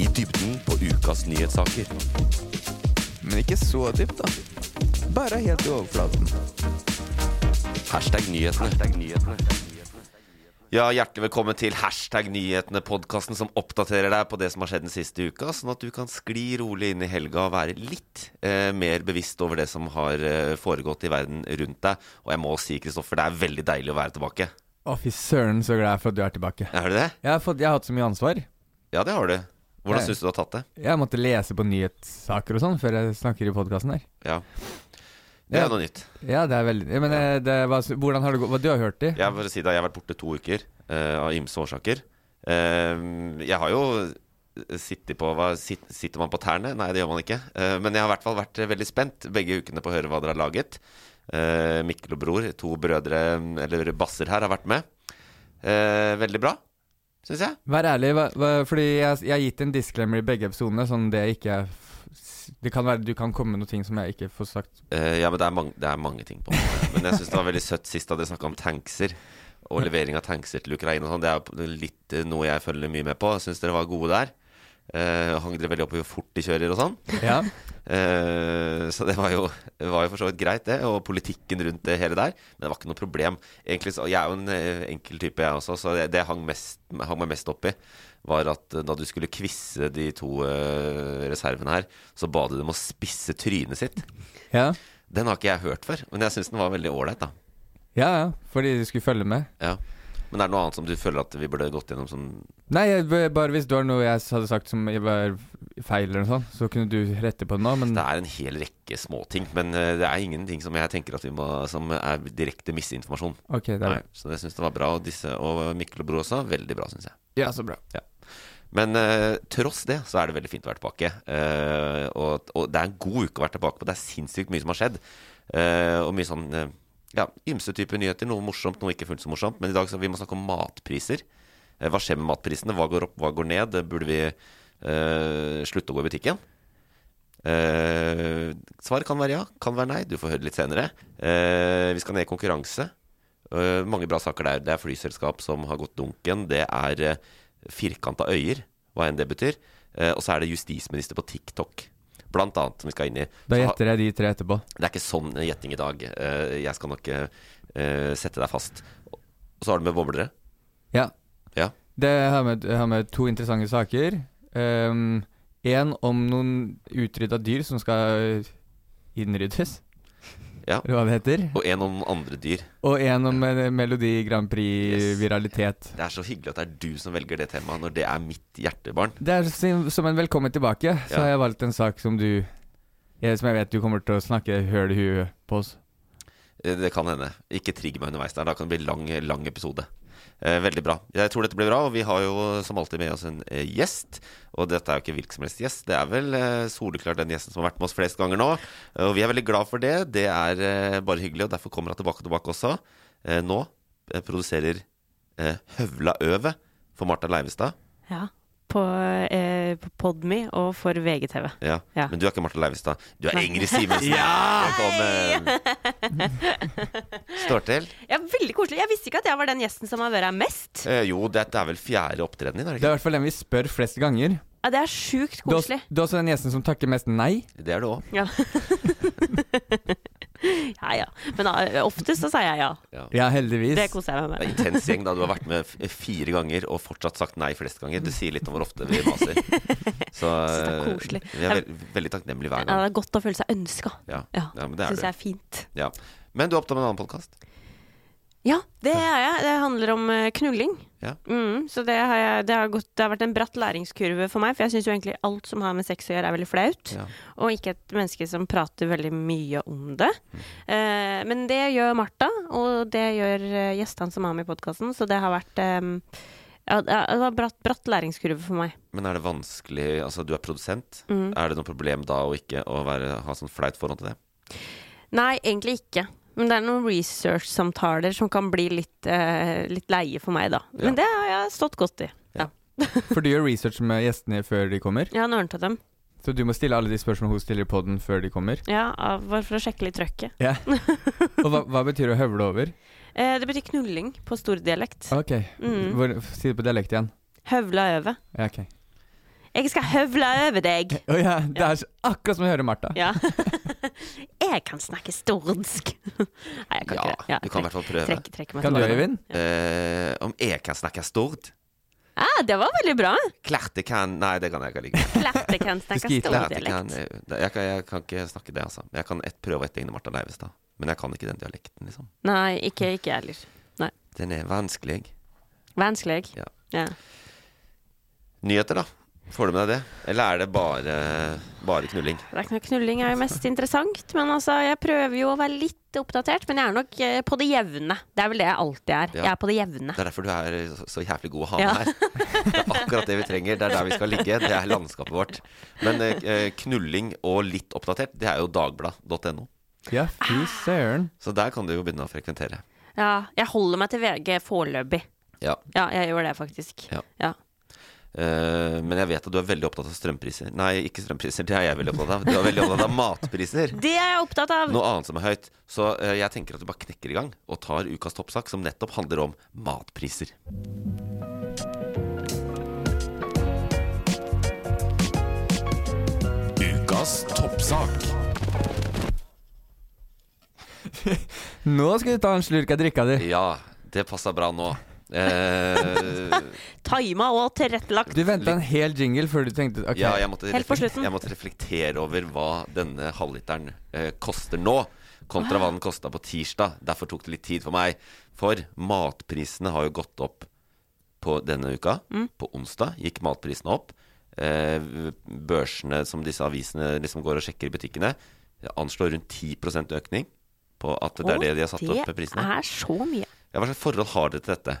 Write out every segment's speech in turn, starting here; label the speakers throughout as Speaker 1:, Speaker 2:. Speaker 1: I dybden på ukas nyhetssaker.
Speaker 2: Men ikke så dypt, da. Bare helt i overflaten.
Speaker 1: Hashtag nyhetene. Ja, Hjertelig velkommen til hashtag nyhetene-podkasten som oppdaterer deg på det som har skjedd den siste uka, sånn at du kan skli rolig inn i helga og være litt eh, mer bevisst over det som har eh, foregått i verden rundt deg. Og jeg må si, Kristoffer, det er veldig deilig å være tilbake.
Speaker 2: Å, fy søren, så glad jeg er for at du er tilbake.
Speaker 1: Er du det?
Speaker 2: Jeg har, fått, jeg har hatt så mye ansvar.
Speaker 1: Ja, det har du.
Speaker 2: Nei.
Speaker 1: Hvordan syns du du har tatt det?
Speaker 2: Jeg måtte lese på nyhetssaker og sånn før jeg snakker i podkasten her.
Speaker 1: Ja. Det
Speaker 2: Ja.
Speaker 1: er noe nytt.
Speaker 2: Ja, det er veldig ja, Men eh, det var, så- hvordan har det gått? Hva du har hørt i?
Speaker 1: Jeg, vil bare si det, jeg har vært borte to uker eh, av ymse årsaker. Eh, jeg har jo sittet på hva, sit, Sitter man på tærne? Nei, det gjør man ikke. Eh, men jeg har i hvert fall vært veldig spent begge ukene på å høre hva dere har laget. Eh, Mikkel og Bror, to brødre, eller basser her, har vært med. Eh, veldig bra, syns jeg.
Speaker 2: Vær ærlig, hva, hva, fordi jeg, jeg har gitt en disclaimer i begge episodene, sånn det ikke er f- s- Det kan være du kan komme med noen ting som jeg ikke får sagt.
Speaker 1: Eh, ja, men det er, mange, det er mange ting på det. Men jeg syns det var veldig søtt sist da dere snakka om tankser. Og levering av tankser til Ukraina og sånn. Det er jo litt eh, noe jeg følger mye med på. Jeg syns dere var gode der. Eh, hang dere veldig opp i hvor fort de kjører og sånn.
Speaker 2: Ja.
Speaker 1: Eh, så det var jo, det var jo for så vidt greit, det. Og politikken rundt det hele der. Men det var ikke noe problem. Egentlig, så, jeg er jo en eh, enkel type, jeg også, så det, det jeg hang, mest, hang meg mest opp i, var at eh, da du skulle quize de to eh, reservene her, så ba du dem å spisse trynet sitt.
Speaker 2: ja.
Speaker 1: Den har ikke jeg hørt før, men jeg syns den var veldig ålreit, da.
Speaker 2: Ja, ja. Fordi du skulle følge med.
Speaker 1: Ja. Men er det noe annet som du føler at vi burde gått gjennom som
Speaker 2: Nei, jeg, b- bare hvis du har noe jeg s- hadde sagt som jeg var feil eller noe sånt, så kunne du rette på det nå, men
Speaker 1: Det er en hel rekke småting, men eh, det er ingenting som jeg tenker at vi må Som er direkte misinformasjon.
Speaker 2: Ok, det er
Speaker 1: Nei, så jeg syns det var bra. Og disse og Mikkel og Bror også. Veldig bra, syns jeg.
Speaker 2: Ja, så bra.
Speaker 1: Men eh, tross det så er det veldig fint å være tilbake. Eh, og, og det er en god uke å være tilbake på. Det er sinnssykt mye som har skjedd. Eh, og mye sånn eh, ja, ymse typer nyheter. Noe morsomt, noe ikke fullt så morsomt. Men i dag så vi må snakke om matpriser. Eh, hva skjer med matprisene? Hva går opp, hva går ned? Burde vi eh, slutte å gå i butikken? Eh, svaret kan være ja, kan være nei. Du får høre det litt senere. Eh, vi skal ned i konkurranse. Eh, mange bra saker der. Det er flyselskap som har gått dunken. Det er uh, firkanta øyer, hva enn det betyr. Eh, og så er det justisminister på TikTok, blant annet, som vi skal inn i.
Speaker 2: Da
Speaker 1: Så ha-
Speaker 2: gjetter jeg de tre etterpå.
Speaker 1: det er ikke sånn gjetting i dag. Eh, jeg skal nok eh, eh, sette deg fast. Og så har du med boblere.
Speaker 2: Ja.
Speaker 1: Ja.
Speaker 2: Det jeg har med, jeg har med to interessante saker. Én om noen utrydda dyr som skal innryddes,
Speaker 1: Ja.
Speaker 2: eller hva det heter.
Speaker 1: Og en om andre dyr.
Speaker 2: Og én om eh, Melodi Grand Prix-viralitet.
Speaker 1: Det er så hyggelig at det er du som velger det temaet når det er mitt hjertebarn.
Speaker 2: Det er sim- som en velkommen tilbake, så
Speaker 1: Ja.
Speaker 2: har jeg valgt en sak som du eh, Som jeg vet du kommer til å snakke høl i huet på oss.
Speaker 1: Eh, Det kan hende. Ikke trigg meg underveis der. Da kan det bli lang, lang episode. Eh, veldig bra. Jeg tror dette blir bra, og vi har jo som alltid med oss en eh, gjest. Og dette er jo ikke hvilken som helst gjest, det er vel eh, soleklart den gjesten som har vært med oss flest ganger nå. Eh, og vi er veldig glad for det. Det er eh, bare hyggelig, og derfor kommer han tilbake og tilbake også. Eh, nå eh, produserer eh, Høvla Øve for Marta Leivestad.
Speaker 3: Ja. På, eh, på Podme og for VGTV.
Speaker 1: Ja.
Speaker 3: Ja.
Speaker 1: Men du er ikke Marta Leivestad. Du er Ingrid Simensen. Velkommen. Står til.
Speaker 3: Ja, Veldig koselig. Jeg visste ikke at jeg var den gjesten som har vært her mest.
Speaker 1: Eh, jo, dette er vel fjerde opptreden din, er det
Speaker 2: Det er i hvert fall den vi spør flest ganger.
Speaker 3: Ja, Det er sjukt
Speaker 2: Det er også-
Speaker 3: koselig.
Speaker 2: det er også den gjesten som takker mest nei.
Speaker 1: ikke? Det er det òg.
Speaker 3: Ja. Ja, ja. Men eh, oftest så sier jeg ja.
Speaker 2: Ja, heldigvis.
Speaker 3: Det koser jeg meg
Speaker 1: Det er
Speaker 3: med.
Speaker 1: intens gjeng da du har vært med f- eh, fire ganger og fortsatt sagt nei flest ganger. Det sier litt om hvor ofte vi maser. Så,
Speaker 3: Så det er
Speaker 1: eh,
Speaker 3: koselig.
Speaker 1: Vi er ve veldig takknemlige hver
Speaker 3: Ja,
Speaker 1: gang.
Speaker 3: det er godt å føle seg ønska.
Speaker 1: Ja,
Speaker 3: Ja,
Speaker 1: ja men det er
Speaker 3: syns
Speaker 1: det.
Speaker 3: jeg er fint.
Speaker 1: Ja. Men du er opptatt med en annen podkast.
Speaker 3: Ja, det er jeg. Det handler om eh, knulling.
Speaker 1: Ja.
Speaker 3: Mm, så det har, jeg, det, har gått, det har vært en bratt læringskurve for meg, for jeg syns jo egentlig alt som har med sex å gjøre, er veldig flaut.
Speaker 1: Ja.
Speaker 3: Og ikke et menneske som prater veldig mye om det.
Speaker 1: Mm.
Speaker 3: Eh, men det gjør Martha, og det gjør eh, gjestene som er med i podkasten, så det har vært em, ja, det har- det var bratt, bratt læringskurve for meg.
Speaker 1: Men er det vanskelig Altså, du er produsent.
Speaker 3: Mm.
Speaker 1: Er det noe problem da å ikke å være, ha sånn flaut forhold til det?
Speaker 3: Nei, egentlig ikke. Men det er noen research-samtaler som kan bli litt, eh, litt leie for meg, da. Men det har jeg stått godt i. Ja,
Speaker 2: For du gjør research med gjestene før de kommer.
Speaker 3: Jeg har nølt av dem.
Speaker 2: Så du må stille alle de spørsmålene hun stiller i poden før de kommer.
Speaker 3: Ja, av- Bare for å sjekke litt trøkket.
Speaker 2: Ja. Og hva, hva betyr å høvle over?
Speaker 3: Eh, det betyr knulling på stordialekt.
Speaker 2: Ok,
Speaker 3: Mm.
Speaker 2: Hvor, si det på dialekt igjen.
Speaker 3: Høvla over.
Speaker 2: Ja, ok.
Speaker 3: Jeg skal høvla over deg!
Speaker 2: Å ja, det er så- akkurat som å høre Martha.
Speaker 3: Ja. jeg kan snakke stordsk. Nei, jeg kan
Speaker 1: Ja,
Speaker 3: ikke det. Ja,
Speaker 1: du kan i hvert fall prøve.
Speaker 3: Trekk, trekk meg
Speaker 2: Kan du,
Speaker 3: tilbake.
Speaker 2: Øyvind?
Speaker 1: Eh, om jeg kan snakke stort?
Speaker 3: Ja, Ah, det var veldig bra.
Speaker 1: Klart jeg kan Nei, det kan jeg ikke like.
Speaker 3: Klart jeg kan snakke
Speaker 2: Skitlært,
Speaker 1: Klart jeg, kan,
Speaker 3: stordialekt.
Speaker 1: eh, jeg, kan, jeg kan ikke snakke det, altså. Jeg kan et, prøve å etterligne Martha Leivestad. Men jeg kan ikke den dialekten, liksom.
Speaker 3: Nei, ikke ikke jeg heller. Nei.
Speaker 1: Den er vanskelig.
Speaker 3: Vanskelig.
Speaker 1: Ja.
Speaker 3: Ja.
Speaker 1: Nyheter, da? Får du med deg det? Eller er det bare, bare knulling?
Speaker 3: Det er ikke noe knulling er jo mest interessant, men altså, jeg prøver jo å være litt oppdatert. Men jeg er nok eh, på det jevne. Det er vel det jeg alltid er.
Speaker 1: Ja.
Speaker 3: Jeg er på det jevne.
Speaker 1: Det er derfor du er så- så jævlig god å ha med
Speaker 3: Ja.
Speaker 1: her. Det er akkurat det vi trenger. Det er der vi skal ligge. Det er landskapet vårt. Men eh, eh, knulling og litt oppdatert, det er jo dagblad.no.
Speaker 2: Ja, fy
Speaker 3: Ah.
Speaker 2: søren.
Speaker 1: Så der kan du jo begynne å frekventere.
Speaker 3: Ja, jeg holder meg til VG foreløpig.
Speaker 1: Ja.
Speaker 3: Ja, jeg gjør det faktisk.
Speaker 1: Ja.
Speaker 3: Ja.
Speaker 1: Eh, men jeg vet at du er veldig opptatt av strømpriser. Nei, ikke strømpriser. Det er jeg veldig opptatt av. Du er veldig opptatt av matpriser.
Speaker 3: Det er jeg opptatt av!
Speaker 1: Noe annet som er høyt. Så eh, jeg tenker at du bare knekker i gang og tar ukas toppsak, som nettopp handler om matpriser.
Speaker 4: Ukas toppsak.
Speaker 2: Nå skal du ta en slurk av drikka di.
Speaker 1: Ja, det passa bra nå. Eh,
Speaker 3: Tima og tilrettelagt.
Speaker 2: Du venta en hel jingle før du tenkte ok.
Speaker 1: Ja, jeg måtte,
Speaker 3: Helt på
Speaker 1: reflek-
Speaker 3: slutten.
Speaker 1: jeg måtte reflektere over hva denne halvliteren eh, koster nå, kontra hva den kosta på tirsdag. Derfor tok det litt tid for meg. For matprisene har jo gått opp på denne uka.
Speaker 3: Mm.
Speaker 1: På onsdag gikk matprisene opp. Eh, børsene som disse avisene liksom går og sjekker i butikkene, anslår rundt 10 økning på at det er det de har satt
Speaker 3: Og
Speaker 1: opp prisene.
Speaker 3: Det er så mye.
Speaker 1: Ja, hva slags forhold har dere til dette?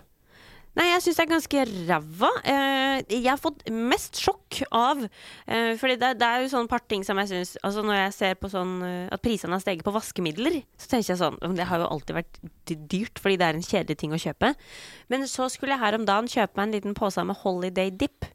Speaker 3: Nei, jeg syns det er ganske ræva. Eh, jeg har fått mest sjokk av eh, Fordi det, det er jo sånn par ting som jeg syns Altså når jeg ser på sånn eh, at prisene har steget på vaskemidler, så tenker jeg sånn "Men Det har jo alltid vært dy- dyrt, fordi det er en kjedelig ting å kjøpe. Men så skulle jeg her om dagen kjøpe meg en liten pose med Holiday Dip.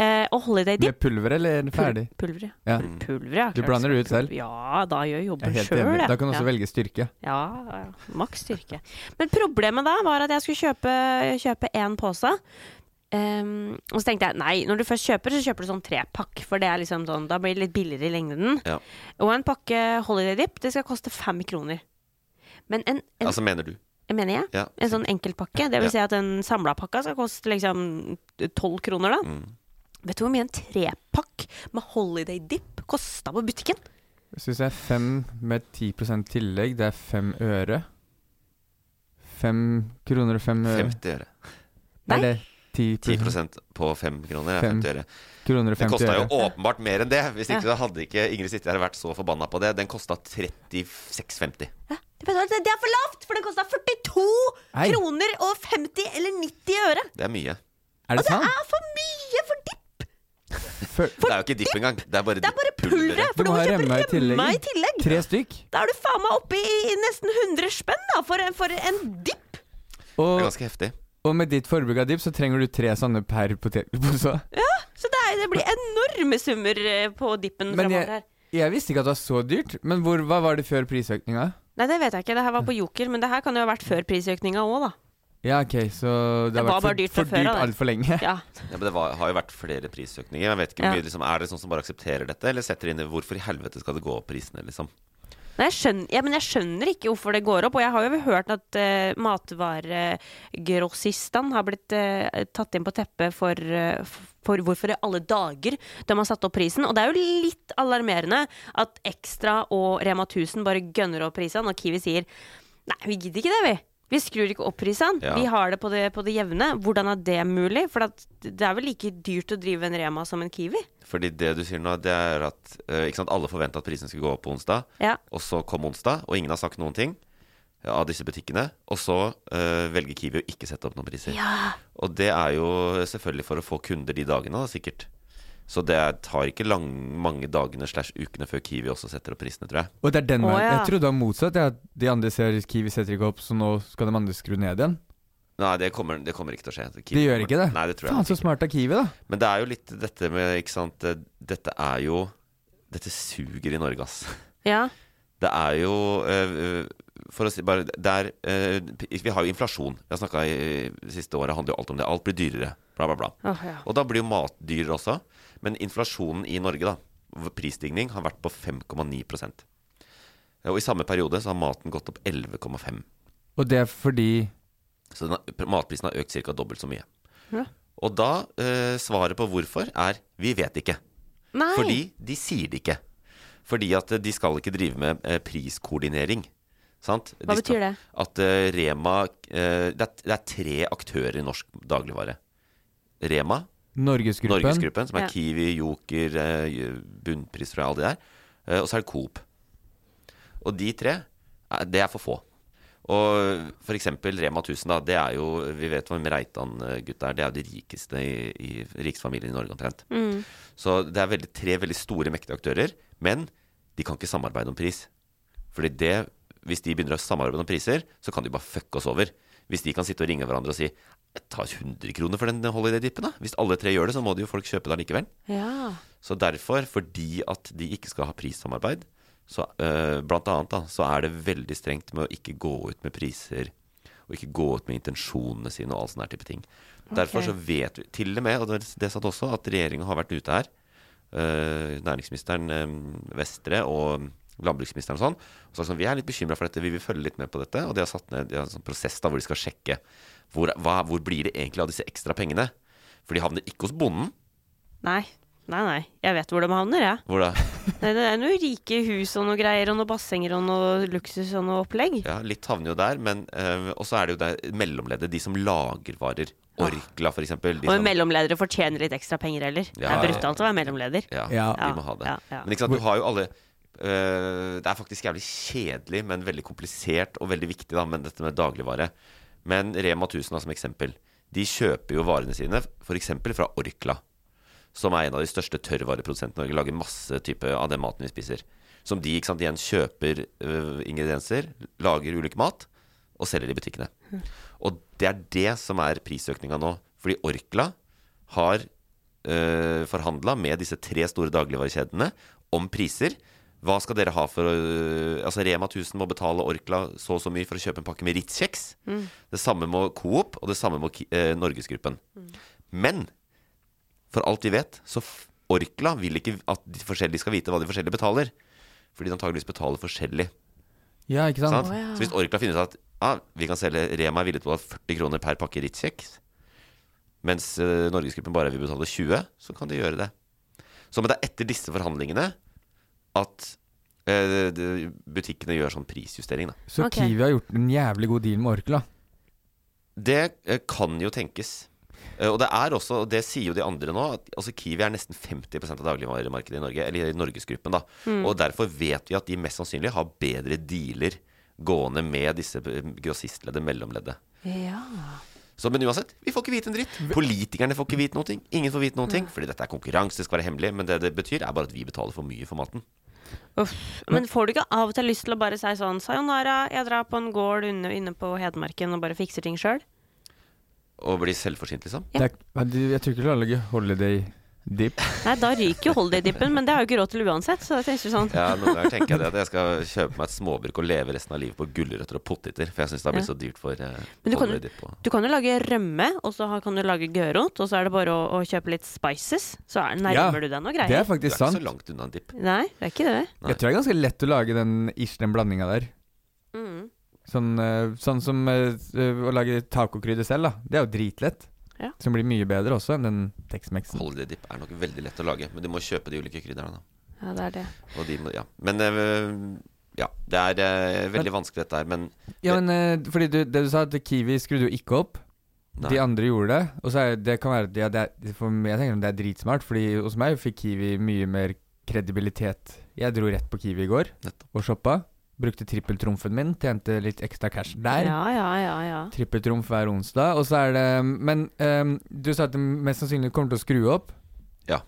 Speaker 3: Eh, og Holiday Dip
Speaker 2: Med pulver eller ferdig?
Speaker 3: Pulver, ja.
Speaker 2: Ja.
Speaker 1: Mm.
Speaker 3: Pulver, ja.
Speaker 2: Du blander det ut selv?
Speaker 3: Ja, da gjør jeg
Speaker 2: Jeg er
Speaker 3: jobben
Speaker 2: helt
Speaker 3: sjøl,
Speaker 2: enig. Da kan du også velge styrke.
Speaker 3: Ja, ja, ja. maks styrke. Men problemet da var at jeg skulle kjøpe, kjøpe én pose. Ehm, og så tenkte jeg nei, når du først kjøper, så kjøper du sånn trepakk. For det er liksom sånn, da blir det litt billigere i lengden.
Speaker 1: Ja.
Speaker 3: Og en pakke Holiday Dip, det skal koste fem kroner. Men en, en
Speaker 1: Altså, mener du?
Speaker 3: mener jeg,
Speaker 1: Ja.
Speaker 3: en sånn enkeltpakke, det
Speaker 1: Ja.
Speaker 3: vil si at en samla pakka skal koste liksom tolv kroner, da.
Speaker 1: Mm.
Speaker 3: Vet du hvor mye en trepakk med Holiday Dip kosta på butikken?
Speaker 2: Syns jeg fem med 10 tillegg, det er fem øre. Fem kroner og fem øre.
Speaker 1: 50 øre.
Speaker 2: Nei,
Speaker 3: Nei.
Speaker 2: det er 10,
Speaker 1: 10 på 5 kroner er
Speaker 2: Fem.
Speaker 1: 50 øre.
Speaker 2: kroner og
Speaker 1: Den
Speaker 2: 50
Speaker 1: kosta jo
Speaker 2: øre.
Speaker 1: åpenbart mer enn det. Hvis ikke så hadde ikke Ingrid Sitte her vært så forbanna på det. Den kosta 36,50.
Speaker 3: Hæ? Det betyr at det er for lavt, for det kosta 42
Speaker 2: Nei.
Speaker 3: kroner og 50 eller 90 øre. Altså,
Speaker 1: Det er mye.
Speaker 2: Er det
Speaker 3: Det
Speaker 2: sant?
Speaker 3: er for mye for dipp!
Speaker 2: Før,
Speaker 1: Det er jo ikke dipp engang. Det er bare,
Speaker 3: Det er bare
Speaker 1: dipp-
Speaker 3: pulveret. For
Speaker 2: Du
Speaker 3: du
Speaker 2: må
Speaker 3: må
Speaker 2: ha
Speaker 3: kjøpe
Speaker 2: rømme i tillegg.
Speaker 3: rømme i tillegg.
Speaker 2: tre stykk.
Speaker 3: Da er du faen meg oppe i i nesten 100 spenn da, for, en- for en dipp.
Speaker 1: Det er
Speaker 2: Og,
Speaker 1: ganske heftig.
Speaker 2: og med ditt forbruk av dipp, så trenger du tre sånne per potetpose.
Speaker 3: Så det, er, det blir enorme summer eh, på dippen
Speaker 2: Men
Speaker 3: fremover
Speaker 2: jeg,
Speaker 3: her.
Speaker 2: jeg visste ikke at det var så dyrt. Men hvor, hva var det før prisøkninga?
Speaker 3: Nei, det vet jeg ikke. Det her var på Joker, men det her kan jo ha vært før prisøkninga òg, da.
Speaker 2: Ja, ok, så det,
Speaker 3: Det
Speaker 2: har
Speaker 3: var
Speaker 2: vært
Speaker 3: bare dyrt fra
Speaker 2: for, for
Speaker 3: før
Speaker 2: dyrt
Speaker 3: av, det.
Speaker 2: altfor lenge.
Speaker 3: Ja.
Speaker 1: Ja, men det var, har jo vært flere prisøkninger. Jeg vet ikke hvor
Speaker 3: Ja.
Speaker 1: mye, liksom, Er det sånn som bare aksepterer dette, eller setter inn i hvorfor i helvete skal det gå opp prisene, liksom?
Speaker 3: Nei, jeg skjønner, ja, men jeg skjønner ikke hvorfor det går opp. Og jeg har jo hørt at uh, matvaregrossistene har blitt eh, tatt inn på teppet for, eh, for hvorfor i alle dager de har satt opp prisen. Og det er jo litt alarmerende at Ekstra og Rema 1000 bare gønner opp prisene, og Kiwi sier nei, vi gidder ikke det, vi. Vi skrur ikke opp prisene.
Speaker 1: Ja.
Speaker 3: Vi har det på, det på det jevne. Hvordan er det mulig? For at det er vel like dyrt å drive en Rema som en Kiwi?
Speaker 1: Fordi det du sier nå, det er at eh, ikke sant, alle forventa at prisen skulle gå opp på onsdag.
Speaker 3: Ja.
Speaker 1: Og så kom onsdag, og ingen har sagt noen ting eh, av disse butikkene. Og så eh, velger Kiwi å ikke sette opp noen priser. Og det er jo selvfølgelig for å få kunder de dagene, da, sikkert. Så det er- tar ikke lang, mange dagene slash ukene før Kiwi også setter opp prisene, tror jeg.
Speaker 2: Og det er den
Speaker 3: Å,
Speaker 2: veien.
Speaker 3: ja.
Speaker 2: Jeg trodde det var motsatt. ja, At de andre ser Kiwi setter ikke opp, så nå skal de andre skru ned igjen.
Speaker 1: Nei, det kommer, det kommer ikke til å skje. Kiwi
Speaker 2: De gjør
Speaker 1: kommer-
Speaker 2: ikke det.
Speaker 1: Nei, det tror jeg
Speaker 2: Faen, så
Speaker 1: ikke.
Speaker 2: smart av Kiwi, da.
Speaker 1: Men det er jo litt dette med Ikke sant. det- Dette er jo Dette suger i Norge, ass.
Speaker 3: Ja.
Speaker 1: Det er jo øh, øh, For å si bare det er, øh, Vi har jo inflasjon. Vi har snakka i siste året, handler jo alt om det. Alt blir dyrere. Bla, bla, bla.
Speaker 3: Åh, ja.
Speaker 1: Og da blir jo mat dyrere også. Men inflasjonen i Norge, da, hvor prisstigning, har vært på 5,9 Eh, Og i samme periode så har maten gått opp 11,5
Speaker 2: Og det er fordi
Speaker 1: Så den har, matprisen har økt ca. dobbelt så mye.
Speaker 3: Ja.
Speaker 1: Og da øh, Svaret på hvorfor er vi vet ikke.
Speaker 3: Nei.
Speaker 1: Fordi de sier det ikke. Fordi at eh, de skal ikke drive med eh, priskoordinering. Sant?
Speaker 3: Hva
Speaker 1: de skal,
Speaker 3: betyr det?
Speaker 1: At eh, Rema eh, det, er, det er tre aktører i norsk dagligvare. Rema,
Speaker 2: Norgesgruppen
Speaker 1: Norgesgruppen, som er
Speaker 3: Ja.
Speaker 1: Kiwi, Joker, eh, Bunnpris fra alle de der. Eh, og så er det Coop. Og de tre, eh, det er for få. Og for eksempel Rema 1000, da. Det er jo, vi vet hvem Reitan-gutta er. Det er jo de rikeste i, i rikeste familien i Norge, omtrent. Så det er veldig, tre veldig store, mektige aktører. Men de kan ikke samarbeide om pris. Fordi det, hvis de begynner å samarbeide om priser, så kan de bare fucke oss over. Hvis de kan sitte og ringe hverandre og si jeg tar 100 kroner for den holiday-dippen, da. Hvis alle tre gjør det, så må det jo folk kjøpe det allikevel.
Speaker 3: Ja.
Speaker 1: Så derfor, fordi at de ikke skal ha prissamarbeid, så øh, blant annet da, så er det veldig strengt med å ikke gå ut med priser, og ikke gå ut med intensjonene sine og all sånne her type ting. Derfor så vet vi, til og med, og det, det satt også, at regjeringen har vært ute her, øh, næringsministeren øh, Vestre og landbruksministeren og sånn, og sagt sånn, vi er litt bekymret for dette, vi vil følge litt med på dette, og de har satt ned de har en sånn prosess da, hvor de skal sjekke hvor, hva, hvor blir det egentlig av disse ekstra pengene? For de havner ikke hos bonden,
Speaker 3: Nei. Nei, nei. Jeg vet hvor de havner, jeg.
Speaker 1: hvor det
Speaker 3: Nei, det er noen rike hus og noe greier, og noen bassenger og noe luksus og noe opplegg.
Speaker 1: Ja, litt havner jo der, men eh, Og så er det jo det mellomleddet, de som lager varer. Orkla, for eksempel. De
Speaker 3: Og
Speaker 1: som,
Speaker 3: mellomledere fortjener litt ekstra penger heller. det
Speaker 1: Ja,
Speaker 3: er
Speaker 1: ja.
Speaker 3: brutalt å være mellomleder.
Speaker 1: ja,
Speaker 2: Ja.
Speaker 1: de må ha det.
Speaker 3: Ja, ja.
Speaker 1: Men ikke sant, du har jo alle eh, Det er faktisk jævlig kjedelig, men veldig komplisert og veldig viktig, da, men dette med dagligvare. Men Rema 1000 da, som eksempel. De kjøper jo varene sine f.eks. fra Orkla. Som er en av de største tørrvareprodusentene i Norge. Lager masse type av den maten vi spiser. Som de ikke sant, igjen kjøper eh, ingredienser, lager ulik mat og selger i butikkene. Og det er det som er prisøkninga nå. Fordi Orkla har øh, forhandla med disse tre store dagligvarekjedene om priser. Hva skal dere ha for å Altså Rema 1000 må betale Orkla så og så mye for å kjøpe en pakke med Ritz-kjeks. Det samme må Coop, og det samme må Ki- eh, Norgesgruppen. Men for alt vi vet, så f- Orkla vil ikke at de forskjellige skal vite hva de forskjellige betaler. Fordi de antageligvis betaler forskjellig.
Speaker 2: Ja, ikke sant?
Speaker 1: Sant? Så hvis Orkla finner ut at ja, vi kan selge Rema er villig til å betale 40 kroner per pakke Ritz-kjeks, mens eh, Norgesgruppen bare vil betale 20, så kan de gjøre det. Så men det er etter disse forhandlingene at eh, de- butikkene gjør sånn prisjustering, da.
Speaker 2: Så
Speaker 3: Ok.
Speaker 2: Kiwi har gjort en jævlig god deal med Orkla.
Speaker 1: Det eh, kan jo tenkes. Eh, Og det er også, og det sier jo de andre nå, at altså Kiwi er nesten 50 av dagligvaremarkedet i Norge. Eller i Norgesgruppen, da. Og derfor vet vi at de mest sannsynlig har bedre dealer gående med disse eh, grossistleddet, mellomleddet.
Speaker 3: Ja.
Speaker 1: Så, men uansett, vi får ikke vite en dritt. Politikerne får ikke vite noen ting. Ingen får vite noen ting. Fordi dette er konkurranse, det skal være hemmelig. Men det det betyr, er bare at vi betaler for mye for maten.
Speaker 3: Uff. Men får du ikke av og til lyst til å bare si sånn sayonara, jeg drar på en gård inne, inne på Hedmarken og bare fikser ting sjøl?
Speaker 1: Og blir selvforsynt, liksom.
Speaker 3: Ja.
Speaker 2: Det er, men de- jeg tror ikke du anlegger holiday Dipp.
Speaker 3: Nei, da ryker jo holiday-dippen, men det har jeg jo ikke råd til uansett. Så jeg tenker sånn
Speaker 1: Ja, noen ganger tenker jeg det at jeg skal kjøpe meg et småbruk og leve resten av livet på gulrøtter og poteter. For jeg syns det har blitt
Speaker 3: Ja.
Speaker 1: så dyrt for eh,
Speaker 3: Men du kan jo-
Speaker 1: holiday dip og-
Speaker 3: Du kan jo lage rømme, og så har- kan du lage gørot, og så er det bare å, å kjøpe litt spices. Så er, nærmer
Speaker 2: Ja,
Speaker 3: du deg noe
Speaker 2: Det
Speaker 3: greier.
Speaker 1: Du
Speaker 2: er
Speaker 1: er
Speaker 2: faktisk
Speaker 1: ikke så
Speaker 2: sant.
Speaker 1: langt unna en dipp.
Speaker 3: Nei, det er ikke det.
Speaker 1: Nei.
Speaker 2: Jeg tror det er ganske lett å lage den ish, den blandinga der.
Speaker 3: Mm.
Speaker 2: Sånn, eh, sånn som eh, å lage tacokrydder selv, da. Det er jo dritlett.
Speaker 3: Ja.
Speaker 2: Som blir mye bedre også enn den Tex-Mexen.
Speaker 1: Holiday dip er nok veldig lett å lage, men du må kjøpe de ulike krydderne. da.
Speaker 3: Ja, det er det.
Speaker 1: Og de må, ja. Men eh, ja, det er eh, veldig vanskelig dette her, men
Speaker 2: Ja, men eh, fordi du, det du sa, at Kiwi skrudde jo ikke opp.
Speaker 1: nei.
Speaker 2: De andre gjorde det. Og så er det kan være at ja, det er, for meg, jeg tenker det er dritsmart, fordi hos meg fikk Kiwi mye mer kredibilitet. Jeg dro rett på Kiwi i går
Speaker 1: Nettopp.
Speaker 2: og shoppa. Brukte trippeltrumfen min, tjente litt ekstra cash der.
Speaker 3: Ja, ja, ja, ja.
Speaker 2: Trippeltrumf hver onsdag. Og så er det Men ehm, du sa at det mest sannsynlig kommer til å skru opp.
Speaker 1: Ja.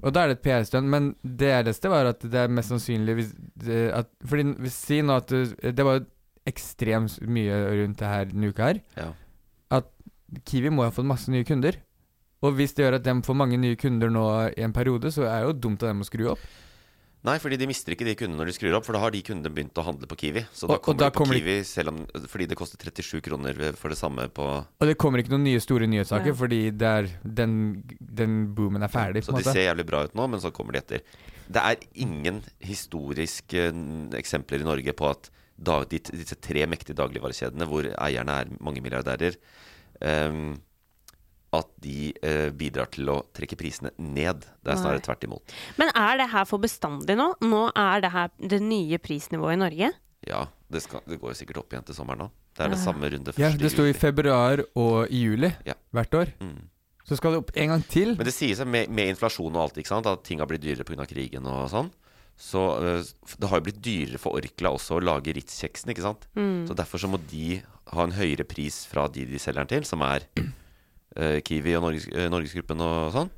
Speaker 2: Og da er det et PR-stunt, men det jeg leste, var at det er mest sannsynlig hvis, det- at, Fordi n- si nå at du, Det var jo ekstremt mye rundt det her denne uka her.
Speaker 1: Ja.
Speaker 2: At Kiwi må ha fått masse nye kunder. Og hvis det gjør at de får mange nye kunder nå i en periode, så er det jo dumt av dem å skru opp.
Speaker 1: nei, fordi de mister ikke de kundene når de skrur opp, for da har de kundene begynt å handle på Kiwi. Så da
Speaker 2: Og- og
Speaker 1: kommer de
Speaker 2: da
Speaker 1: på
Speaker 2: kommer de-
Speaker 1: Kiwi selv om, fordi det koster 37 kroner for det samme på
Speaker 2: Og det kommer ikke noen nye store nyhetssaker,
Speaker 3: Ja.
Speaker 2: fordi det er den, den boomen er ferdig.
Speaker 1: Så
Speaker 2: på en
Speaker 1: de
Speaker 2: måte.
Speaker 1: ser jævlig bra ut nå, men så kommer de etter. Det er ingen historiske eh, eksempler i Norge på at da, de, disse tre mektige dagligvarekjedene, hvor eierne er mange milliardærer, ehm, at de eh, bidrar til å trekke prisene ned. Det er snarere tvert imot.
Speaker 3: Men er det her for bestandig nå? Nå er det her det nye prisnivået i Norge?
Speaker 1: Ja, det, skal, det går jo sikkert opp igjen til sommeren nå. Det er det samme runde
Speaker 2: Ja,
Speaker 1: første
Speaker 2: det sto i
Speaker 1: juli.
Speaker 2: februar og i juli
Speaker 1: Ja.
Speaker 2: hvert år.
Speaker 1: Mm.
Speaker 2: Så skal det opp en gang til.
Speaker 1: Men det sier seg med, med inflasjon og alt, ikke sant? at ting har blitt dyrere pga. krigen og sånn. Så eh, det har jo blitt dyrere for Orkla også å lage Ritz-kjeksen, ikke sant.
Speaker 3: Mm.
Speaker 1: Så derfor så må de ha en høyere pris fra de de selger den til, som er eh, Kiwi og Norges, eh, Norgesgruppen og sånn.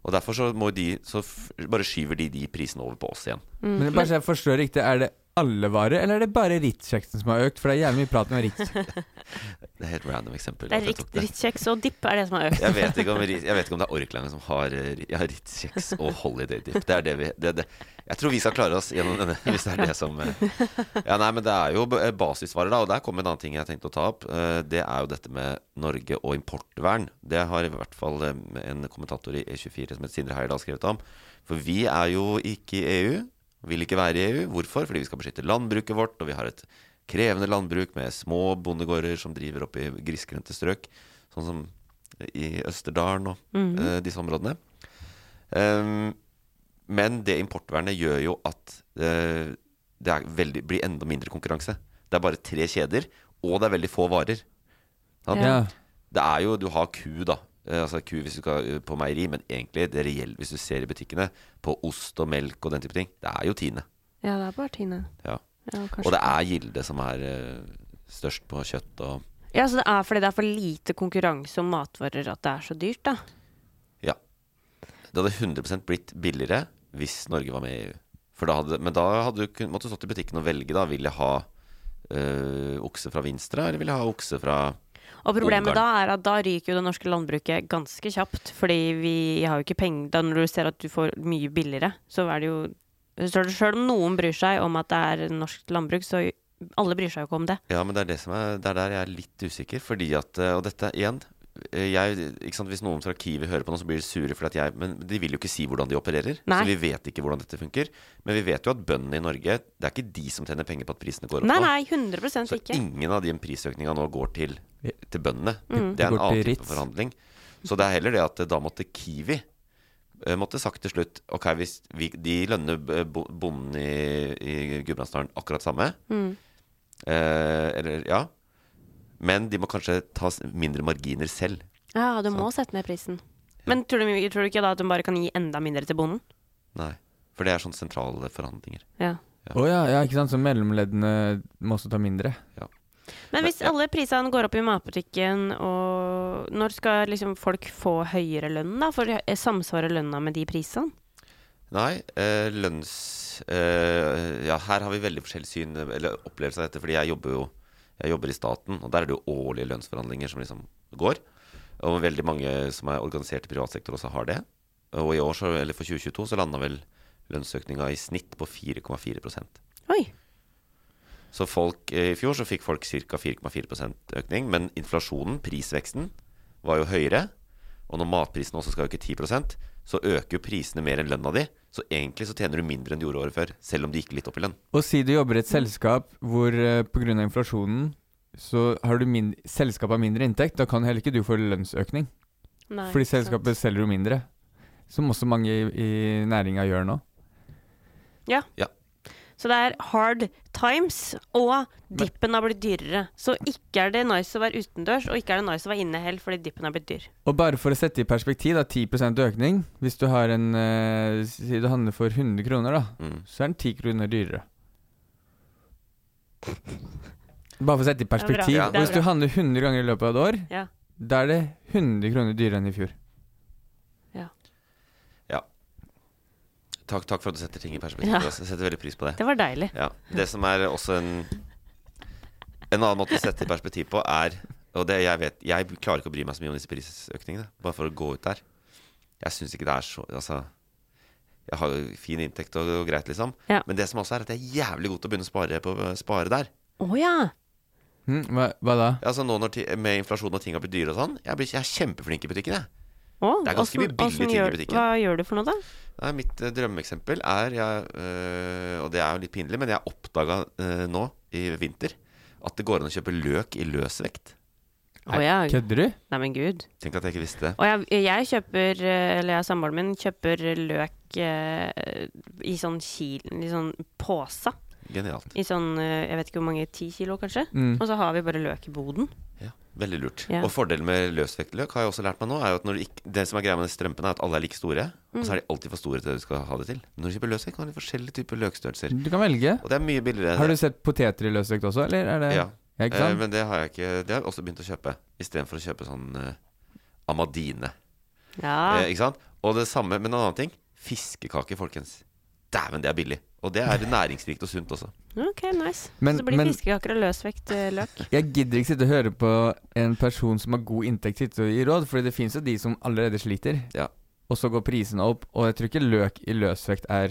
Speaker 1: Og derfor så må de Så f bare skyver de de prisene over på oss igjen.
Speaker 2: Men bare så jeg forstår riktig, er det alle varer, eller er det bare Ritz-kjeksen som har økt? For det er jævlig mye prat om Ritz.
Speaker 1: Det er et helt random eksempel.
Speaker 3: Det
Speaker 1: at
Speaker 3: er
Speaker 1: jeg
Speaker 3: rikt-
Speaker 1: tok det.
Speaker 3: Rittkjeks og dipp er det som har økt.
Speaker 1: Jeg vet, ikke om, Ri- jeg vet ikke om det er Orkla som har, eh, ja, Ritz-kjeks og Holiday Dip. Det er det vi det, det. Jeg tror vi skal klare oss gjennom denne, hvis det er det som eh. Ja, nei, men det er jo b- eh, basisvarer, da. Og der kom en annen ting jeg tenkte å ta opp. Eh, Det er jo dette med Norge og importvern. Det har i hvert fall eh, en kommentator i E24 som heter Sindre Heyerdahl skrevet om. For vi er jo ikke i EU. Vil ikke være i EU. Hvorfor? Fordi vi skal beskytte landbruket vårt, og vi har et krevende landbruk med små bondegårder som driver opp i grisgrendte strøk, sånn som i Østerdalen og eh, disse områdene. Ehm, men det importvernet gjør jo at eh, det er veldig, blir enda mindre konkurranse. Det er bare tre kjeder, og det er veldig få varer. Sant?
Speaker 2: Ja.
Speaker 1: Det er jo, du har ku da Eh, Altså ku hvis du skal eh, på meieri Men egentlig, det reelle hvis du ser i butikkene På ost og melk og den type ting Det er jo Tine
Speaker 3: Ja, det er bare Tine.
Speaker 1: ja.
Speaker 3: Ja, kanskje.
Speaker 1: Og det er Gilde som er eh, størst på kjøtt og,
Speaker 3: Ja, så det er fordi det er for lite konkurranse om matvarer at det er så dyrt, da.
Speaker 1: Ja Det hadde 100% blitt billigere Hvis Norge var med i EU For da hadde, Men da hadde du kun, måtte du stått i butikken og velge da Vil jeg ha eh, okse fra Vinstra Eller vil jeg ha okse fra
Speaker 3: Og problemet
Speaker 1: Ungarn.
Speaker 3: da er at da ryker jo det norske landbruket ganske kjapt. Fordi vi har jo ikke penger Da når du ser at du får mye billigere, så er det jo så er det Selv om noen bryr seg om at det er norsk landbruk, så alle bryr seg jo ikke om det.
Speaker 1: Ja, men det er, det som er, det er der jeg er litt usikker. Fordi at, eh, Og dette igjen eh, jeg, ikke sant, Hvis noen fra Kiwi hører på nå, så blir de sure. Fordi at jeg, men de vil jo ikke si hvordan de opererer.
Speaker 3: Nei.
Speaker 1: Så vi vet ikke hvordan dette funker. Men vi vet jo at bøndene i Norge Det er ikke de som tjener penger på at prisene går opp.
Speaker 3: Nei,
Speaker 1: nå.
Speaker 3: nei, 100
Speaker 1: så
Speaker 3: ikke.
Speaker 1: ingen av de prisøkninga nå går til, til bøndene. Det
Speaker 2: Mm. Det
Speaker 1: er en
Speaker 2: går til
Speaker 1: annen type
Speaker 2: Ritz.
Speaker 1: forhandling. Så det er heller det at eh, da måtte Kiwi eh, måtte sagt til slutt Ok, hvis vi, de lønner eh, bo- bonden i, i Gudbrandsdalen akkurat samme.
Speaker 2: Mm.
Speaker 1: Eh, eller, ja. Men de må kanskje ta s- mindre marginer selv.
Speaker 3: Ja, du må sette ned prisen. Men tror du, tror du ikke da at de bare kan gi enda mindre til bonden?
Speaker 1: Nei. For det er sånne sentrale forhandlinger.
Speaker 3: Ja.
Speaker 2: Å ja, ja, ikke sant. Så mellomleddene må også ta mindre.
Speaker 3: Men hvis alle prisene går opp i matbutikken, og når skal liksom folk få høyere lønn, da? For samsvarer lønna med de prisene?
Speaker 1: Nei, eh, lønns... Eh, ja, her har vi veldig forskjellig syn, eh, eller opplevelse av dette, fordi jeg jobber jo jeg jobber i staten, og der er det jo årlige lønnsforhandlinger som liksom går. Og veldig mange som er organisert i privat sektor også har det. Og i år, så, eller for 2022, så landa vel lønnsøkninga i snitt på 4,4
Speaker 3: Oi.
Speaker 1: Så folk, eh, i fjor så fikk folk ca. 4,4 økning, men inflasjonen, prisveksten, var jo høyere. Og når matprisene også skal øke 10 så øker jo prisene mer enn lønna di. Så egentlig så tjener du mindre enn du gjorde året før, selv om det gikk litt opp i lønn.
Speaker 2: Og si du jobber i et
Speaker 3: Mm.
Speaker 2: selskap hvor eh, på grunn av inflasjonen så har du min selskapet har mindre inntekt, da kan heller ikke du få lønnsøkning.
Speaker 3: Nei,
Speaker 2: fordi
Speaker 3: sant.
Speaker 2: selskapet selger jo mindre. Som også mange i, i næringa gjør nå.
Speaker 3: Ja.
Speaker 1: Ja.
Speaker 3: Så det er hard times, og dippen har blitt dyrere. Så ikke er det nice å være utendørs, og ikke er det nice å være inne heller, fordi dippen har blitt dyr.
Speaker 2: Og bare for å sette i perspektiv, da, 10 økning Hvis du har en eh, Si du handler for 100 kroner, da.
Speaker 1: Mm.
Speaker 2: så er den 10 kroner dyrere. Bare for å sette i perspektiv.
Speaker 1: Ja, det
Speaker 3: er
Speaker 2: Hvis du
Speaker 3: bra.
Speaker 2: handler 100 ganger i løpet av et år,
Speaker 3: Ja.
Speaker 2: da er det 100 kroner dyrere enn i fjor.
Speaker 1: Takk, takk for at du setter ting i perspektiv.
Speaker 3: Ja.
Speaker 1: Jeg setter veldig pris på det.
Speaker 3: Det var deilig.
Speaker 1: Ja, Det som er også en En annen måte å sette i perspektiv på, er Og det jeg vet Jeg klarer ikke å bry meg så mye om disse prisøkningene. Bare for å gå ut der. Jeg syns ikke det er så Altså Jeg har jo fin inntekt og, og greit, liksom.
Speaker 3: Ja.
Speaker 1: Men det som også er at jeg er jævlig god til å begynne å spare, på, spare der.
Speaker 3: Å ja.
Speaker 2: Hm, hva, hva da?
Speaker 1: Altså nå når ti, Med inflasjon og ting har blitt dyre og sånn, jeg, blir, jeg er kjempeflink i butikken, jeg.
Speaker 3: Å,
Speaker 1: Det er ganske
Speaker 3: åssen-
Speaker 1: mye billige
Speaker 3: åssen
Speaker 1: ting i
Speaker 3: gjør-
Speaker 1: butikken.
Speaker 3: Hva gjør du for noe, da?
Speaker 1: Nei, mitt eh, drømmeeksempel er jeg, øh, Og det er jo litt pinlig, men jeg oppdaga øh, nå i vinter at det går an å kjøpe løk i løs vekt.
Speaker 3: Å ja.
Speaker 2: Kødder du?
Speaker 3: Nei, men gud.
Speaker 1: Tenk at jeg ikke visste det.
Speaker 3: Og jeg, jeg kjøper, eh, eller jeg og samboeren min kjøper løk eh, i sånn kil, i sånn pose.
Speaker 1: Genialt.
Speaker 3: I sånn, eh, jeg vet ikke hvor mange, ti kilo kanskje.
Speaker 2: Mm.
Speaker 3: Og så har vi bare løk i boden.
Speaker 1: Ja, veldig lurt.
Speaker 3: Ja.
Speaker 1: Og fordelen med løsvektløk har jeg også lært meg nå, er jo at når du ikke, det som er greia med de strømpene, er at alle er like store. Og
Speaker 3: Mm.
Speaker 1: så er de alltid for store til det du skal ha det til. Men når du kjøper løsvekt, kan du ha forskjellige typer løkstørrelser.
Speaker 3: Mm.
Speaker 2: Du kan velge.
Speaker 1: Og det er mye billigere.
Speaker 2: Har du sett poteter i løsvekt også, eller er det
Speaker 1: Ja.
Speaker 2: Ja, ikke
Speaker 1: Eh,
Speaker 2: sant?
Speaker 1: men det har jeg ikke Det har jeg også begynt å kjøpe. Istedenfor å kjøpe sånn eh, Amadine.
Speaker 3: Ja.
Speaker 1: Eh, ikke sant? Og det samme, men en annen ting. Fiskekaker, folkens. Dæven, det er billig. Og det er næringsrikt og sunt også.
Speaker 3: Ok, nice.
Speaker 2: Men-
Speaker 3: så blir
Speaker 2: men-
Speaker 3: fiskekaker og løsvekt eh, løk.
Speaker 2: Jeg gidder ikke sitte og høre på en person som har god inntekt sitte og gi råd, Fordi det fins jo de som allerede sliter.
Speaker 1: Ja.
Speaker 2: Og så går prisene opp, og jeg tror ikke løk i løsvekt er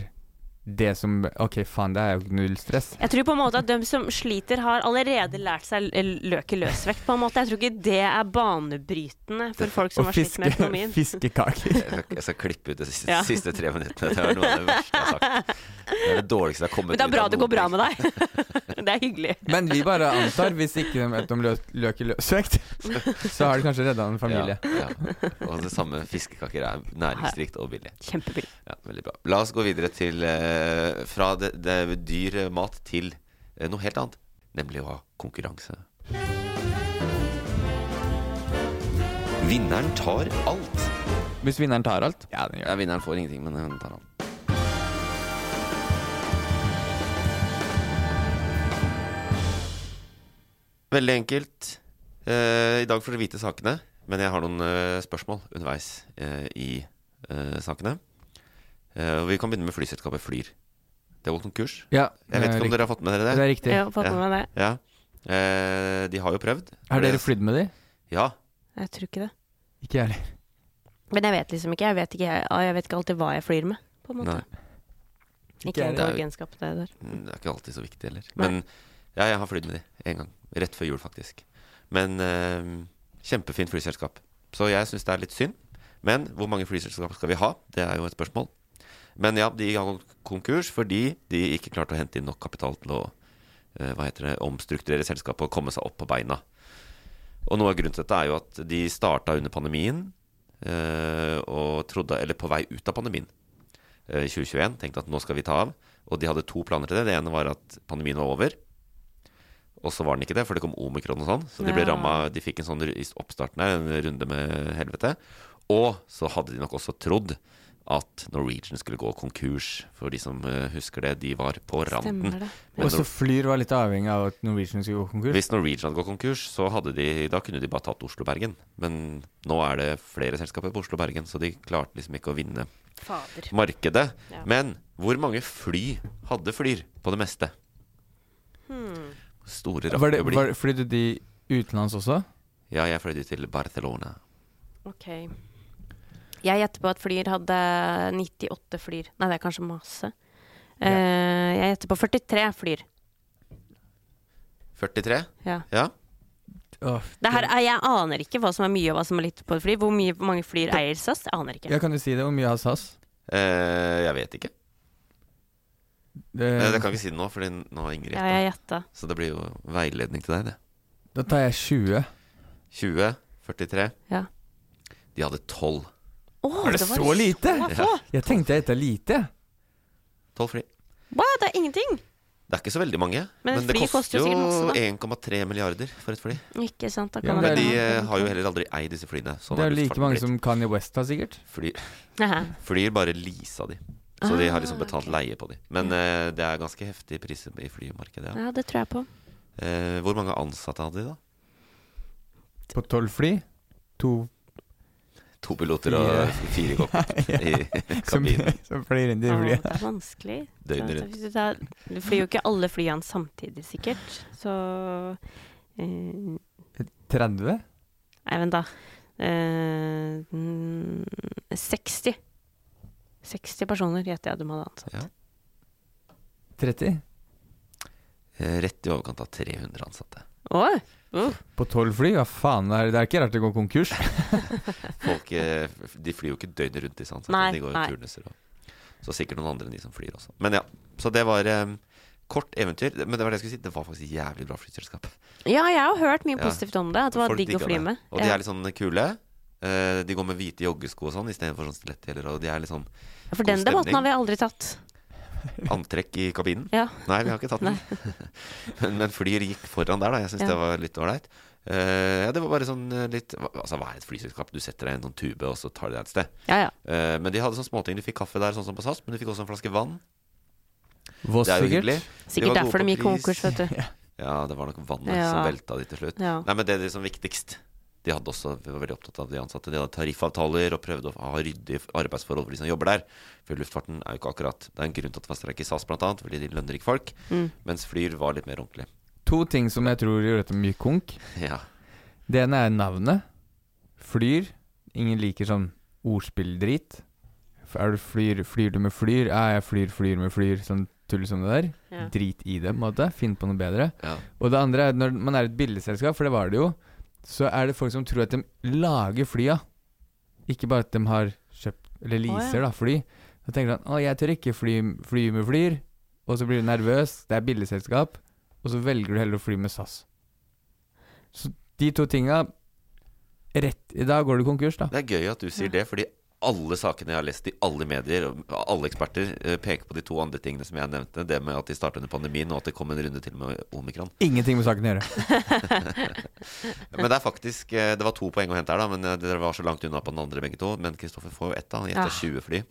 Speaker 2: det som Ok, faen, det er jo null stress.
Speaker 3: Jeg tror på en måte at de som sliter, har allerede lært seg l- løk i løsvekt. på en måte. Jeg tror ikke det er banebrytende for folk som
Speaker 2: Og
Speaker 3: har slitt med økonomien.
Speaker 2: fiskekaker.
Speaker 1: Jeg skal, jeg skal klippe ut de siste,
Speaker 3: Ja.
Speaker 1: siste tre minuttene. Det er noe av det verste jeg har sagt. Det er det dårligste jeg har kommet
Speaker 3: Men det er
Speaker 1: ut
Speaker 3: bra
Speaker 1: av
Speaker 3: det
Speaker 1: noen
Speaker 3: går bra
Speaker 1: ting.
Speaker 3: med deg. det er hyggelig.
Speaker 2: Men vi bare antar, hvis ikke de vet om lø løk i løsvekt, så har de kanskje redda en familie.
Speaker 1: Ja, ja. Og det samme fiskekaker er næringsrikt og billig.
Speaker 3: Kjempebillig.
Speaker 1: Ja, veldig bra. La oss gå videre til eh, fra det, det dyr mat til eh, noe helt annet. Nemlig å ha konkurranse. Vinneren tar alt.
Speaker 2: Hvis vinneren tar alt. Ja, den
Speaker 1: Ja, vinneren får ingenting, men hun tar han. Veldig enkelt. Eh, I dag får dere vite sakene, men jeg har noen eh, spørsmål underveis eh, i eh, sakene. Eh, og vi kan begynne med flyselskapet Flyr. Det går konkurs.
Speaker 2: Ja,
Speaker 1: Jeg vet ikke om
Speaker 2: det
Speaker 1: dere har fått med
Speaker 2: er
Speaker 1: dere det?
Speaker 2: riktig.
Speaker 3: Jeg har fått med meg det.
Speaker 1: Ja. Eh, de har jo prøvd.
Speaker 2: Har dere flydd med de?
Speaker 1: Ja.
Speaker 3: Jeg tror ikke det.
Speaker 2: Ikke jeg heller.
Speaker 3: Men jeg vet liksom ikke. Jeg vet ikke, jeg, jeg vet ikke alltid hva jeg flyr med, på en måte.
Speaker 1: Nei.
Speaker 3: Ikke
Speaker 2: jeg
Speaker 3: en
Speaker 1: heller.
Speaker 3: egenskap, det der.
Speaker 1: Mm, Det er ikke alltid så viktig heller.
Speaker 3: Nei.
Speaker 1: Men ja, jeg har flydd med de en gang. Rett før jul, faktisk. Men eh, kjempefint flyselskap. Så jeg syns det er litt synd. Men hvor mange flyselskap skal vi ha? Det er jo et spørsmål. Men ja, de har gått konkurs fordi de ikke klarte å hente inn nok kapital til å eh, hva heter det, omstrukturere selskapet og komme seg opp på beina. Og noe av grunnen til dette er jo at de starta under pandemien, eh, og trodde, eller på vei ut av pandemien eh, i 2021, tenkte at nå skal vi ta av. Og de hadde to planer til det. Det ene var at pandemien var over. Og så var den ikke det, for det kom omikron og sånn. Så de ble
Speaker 3: Ja.
Speaker 1: ramma De fikk en sånn ru- i oppstarten her, en runde med helvete. Og så hadde de nok også trodd at Norwegian skulle gå konkurs. For de som eh, husker det, de var på randen.
Speaker 3: Stemmer det.
Speaker 1: Men
Speaker 2: Og så Flyr var litt avhengig av at Norwegian skulle gå konkurs.
Speaker 1: hvis Norwegian hadde gått konkurs, så hadde de, da kunne de bare tatt Oslo-Bergen. Men nå er det flere selskaper på Oslo-Bergen, så de klarte liksom ikke å vinne
Speaker 3: Fader.
Speaker 1: markedet.
Speaker 3: Ja.
Speaker 1: Men hvor mange fly hadde Flyr på det meste?
Speaker 3: Hmm.
Speaker 1: Store
Speaker 2: Var det,
Speaker 1: rakk det blir.
Speaker 2: var, flydde de utenlands også?
Speaker 1: Ja, jeg fløy til Barcelona.
Speaker 3: Ok. Jeg gjetter på at Flyr hadde 98 Flyr. Nei, det er kanskje masse. Eh, jeg gjetter på 43 Flyr.
Speaker 1: 43?
Speaker 3: Ja.
Speaker 1: Ja.
Speaker 2: Åh,
Speaker 3: Det her, er- jeg aner ikke hva som er mye og hva som er litt på et fly. Hvor mye, hvor mange flyr eier SAS? Jeg aner ikke.
Speaker 2: ja, kan du si det? Hvor mye har SAS?
Speaker 1: Eh, jeg vet ikke. Eh, jeg kan ikke si det nå, for nå har Ingrid
Speaker 3: Ja,
Speaker 1: gjetta.
Speaker 3: jeg gjetta.
Speaker 1: Så det blir jo veiledning til deg, det.
Speaker 2: Da tar jeg 20.
Speaker 1: 20, 43
Speaker 3: Ja.
Speaker 1: De hadde 12.
Speaker 3: Åh,
Speaker 2: Er det
Speaker 3: var
Speaker 2: så lite?
Speaker 3: få!
Speaker 2: Jeg tenkte jeg gjetta lite.
Speaker 1: 12 fly.
Speaker 3: Wow, det er ingenting!
Speaker 1: Det er ikke så veldig mange.
Speaker 3: Men et
Speaker 1: det
Speaker 3: fly koster jo sikkert masse, da.
Speaker 1: 1,3 milliarder for et fly.
Speaker 3: Ikke sant, da
Speaker 2: Ja,
Speaker 3: kan
Speaker 2: men
Speaker 1: Men de
Speaker 2: det-
Speaker 1: eh, har jo heller aldri eid disse flyene. Sånn
Speaker 2: Det er jo
Speaker 1: luftfarten
Speaker 2: like mange
Speaker 1: blitt.
Speaker 2: som Kanye West har, sikkert.
Speaker 1: Flyr,
Speaker 3: Haha.
Speaker 1: flyr bare leasa de. Så de har liksom
Speaker 3: Ah.
Speaker 1: betalt leie på de. Men eh, det er ganske heftige priser i flymarkedet. Ja.
Speaker 3: Ja, det tror jeg på.
Speaker 1: Eh, hvor mange ansatte hadde de, da?
Speaker 2: På tolv fly. To
Speaker 1: To piloter og fire kokker i
Speaker 2: som,
Speaker 1: kabinen
Speaker 2: som flyr inn i
Speaker 3: Åh,
Speaker 2: flyet.
Speaker 3: det er vanskelig.
Speaker 1: døgnet rundt.
Speaker 3: Hvis Du tar- du flyr jo ikke alle flyene samtidig, sikkert. Så eh,
Speaker 2: 30?
Speaker 3: Nei, vent, da. Eh, mm, 60. 60 personer gjetter jeg de hadde ansatt.
Speaker 1: Ja.
Speaker 2: 30?
Speaker 1: Eh, Rett i overkant av 300 ansatte.
Speaker 3: Åh, uh,
Speaker 2: På tolv fly? Hva faen, det er, det er ikke rart det går konkurs.
Speaker 1: Folk, eh, f- de flyr jo ikke døgnet rundt, disse ansatte.
Speaker 3: Nei,
Speaker 1: de går jo
Speaker 3: nei.
Speaker 1: turnuser og Så sikkert noen andre enn de som flyr også. Men ja, så det var eh, kort eventyr. Men det var det jeg skulle si. Det var faktisk jævlig bra flyselskap.
Speaker 3: ja, jeg har hørt mye
Speaker 1: Ja.
Speaker 3: positivt om det. At det var
Speaker 1: Folk
Speaker 3: digg å
Speaker 1: digger
Speaker 3: fly
Speaker 1: det.
Speaker 3: med.
Speaker 1: Og de
Speaker 3: Ja.
Speaker 1: er litt sånn kule. Eh, de går med hvite joggesko og sånn istedenfor sånn stiletthæler. Og de er litt sånn
Speaker 3: Ja, For den
Speaker 1: god
Speaker 3: debatten har
Speaker 1: stemning.
Speaker 3: vi aldri tatt.
Speaker 1: antrekk i kabinen.
Speaker 3: Ja.
Speaker 1: Nei, vi har ikke tatt den. men, men Flyr gikk foran der, da. Jeg syns
Speaker 3: Ja.
Speaker 1: det var litt ålreit. Eh, ja, det var bare sånn eh, litt hva- Altså, hva er et flyselskap? Du setter deg i en sånn tube, og så tar de deg et sted.
Speaker 3: Ja, ja.
Speaker 1: Eh, men de hadde sånne småting. Du fikk kaffe der, sånn som på SAS, men du fikk også en flaske vann.
Speaker 2: Voss,
Speaker 1: Det er jo
Speaker 2: sikkert.
Speaker 1: hyggelig. var
Speaker 3: Sikkert
Speaker 1: gode på
Speaker 3: derfor de gikk
Speaker 1: pris.
Speaker 3: konkurs, vet du.
Speaker 1: Ja, det var nok vannet som
Speaker 3: Ja.
Speaker 1: velta de til slutt.
Speaker 3: Ja.
Speaker 1: Nei, men det er det som viktigst. De hadde også, vi var veldig opptatt av de ansatte. De hadde tariffavtaler og prøvde å ha ryddige arbeidsforhold for de som jobber der. For luftfarten er jo ikke akkurat Det er en grunn til at det var streik i SAS, blant annet, fordi de lønner ikke folk. Mens Flyr var litt mer ordentlig.
Speaker 2: To ting som jeg tror gjør dette mye konk.
Speaker 1: Ja.
Speaker 2: Det ene er navnet. Flyr. Ingen liker sånn ordspilldrit. F- Er du flyr, flyr du med flyr? Ja, jeg flyr, flyr med flyr. Sånn tull som det der.
Speaker 3: Ja.
Speaker 2: Drit i det, på en måte. Finn på noe bedre.
Speaker 1: ja.
Speaker 2: Og det andre er at når man er et billigselskap, for det var det jo, så er det folk som tror at de lager flya. Ikke bare at de har kjøpt, eller
Speaker 3: ja.
Speaker 2: leaser, da, fly. Så tenker han å, jeg tør ikke fly, fly med Flyr. Og så blir du nervøs, det er billigselskap. Og så velger du heller å fly med SAS. Så de to tinga Rett i dag går du konkurs, da.
Speaker 1: Det er gøy at du sier det, fordi alle sakene jeg har lest i alle medier, og alle eksperter, eh, peker på de to andre tingene som jeg nevnte. Det med at de starta under pandemien, og at det kom en runde til med omikron.
Speaker 2: Ingenting med saken å gjøre.
Speaker 1: Men det er faktisk eh, Det var to poeng å hente her, da. Men eh, dere var så langt unna på den andre, begge to. Men Kristoffer får jo ett, da. Han gjetter
Speaker 3: Ja.
Speaker 1: 20 fly.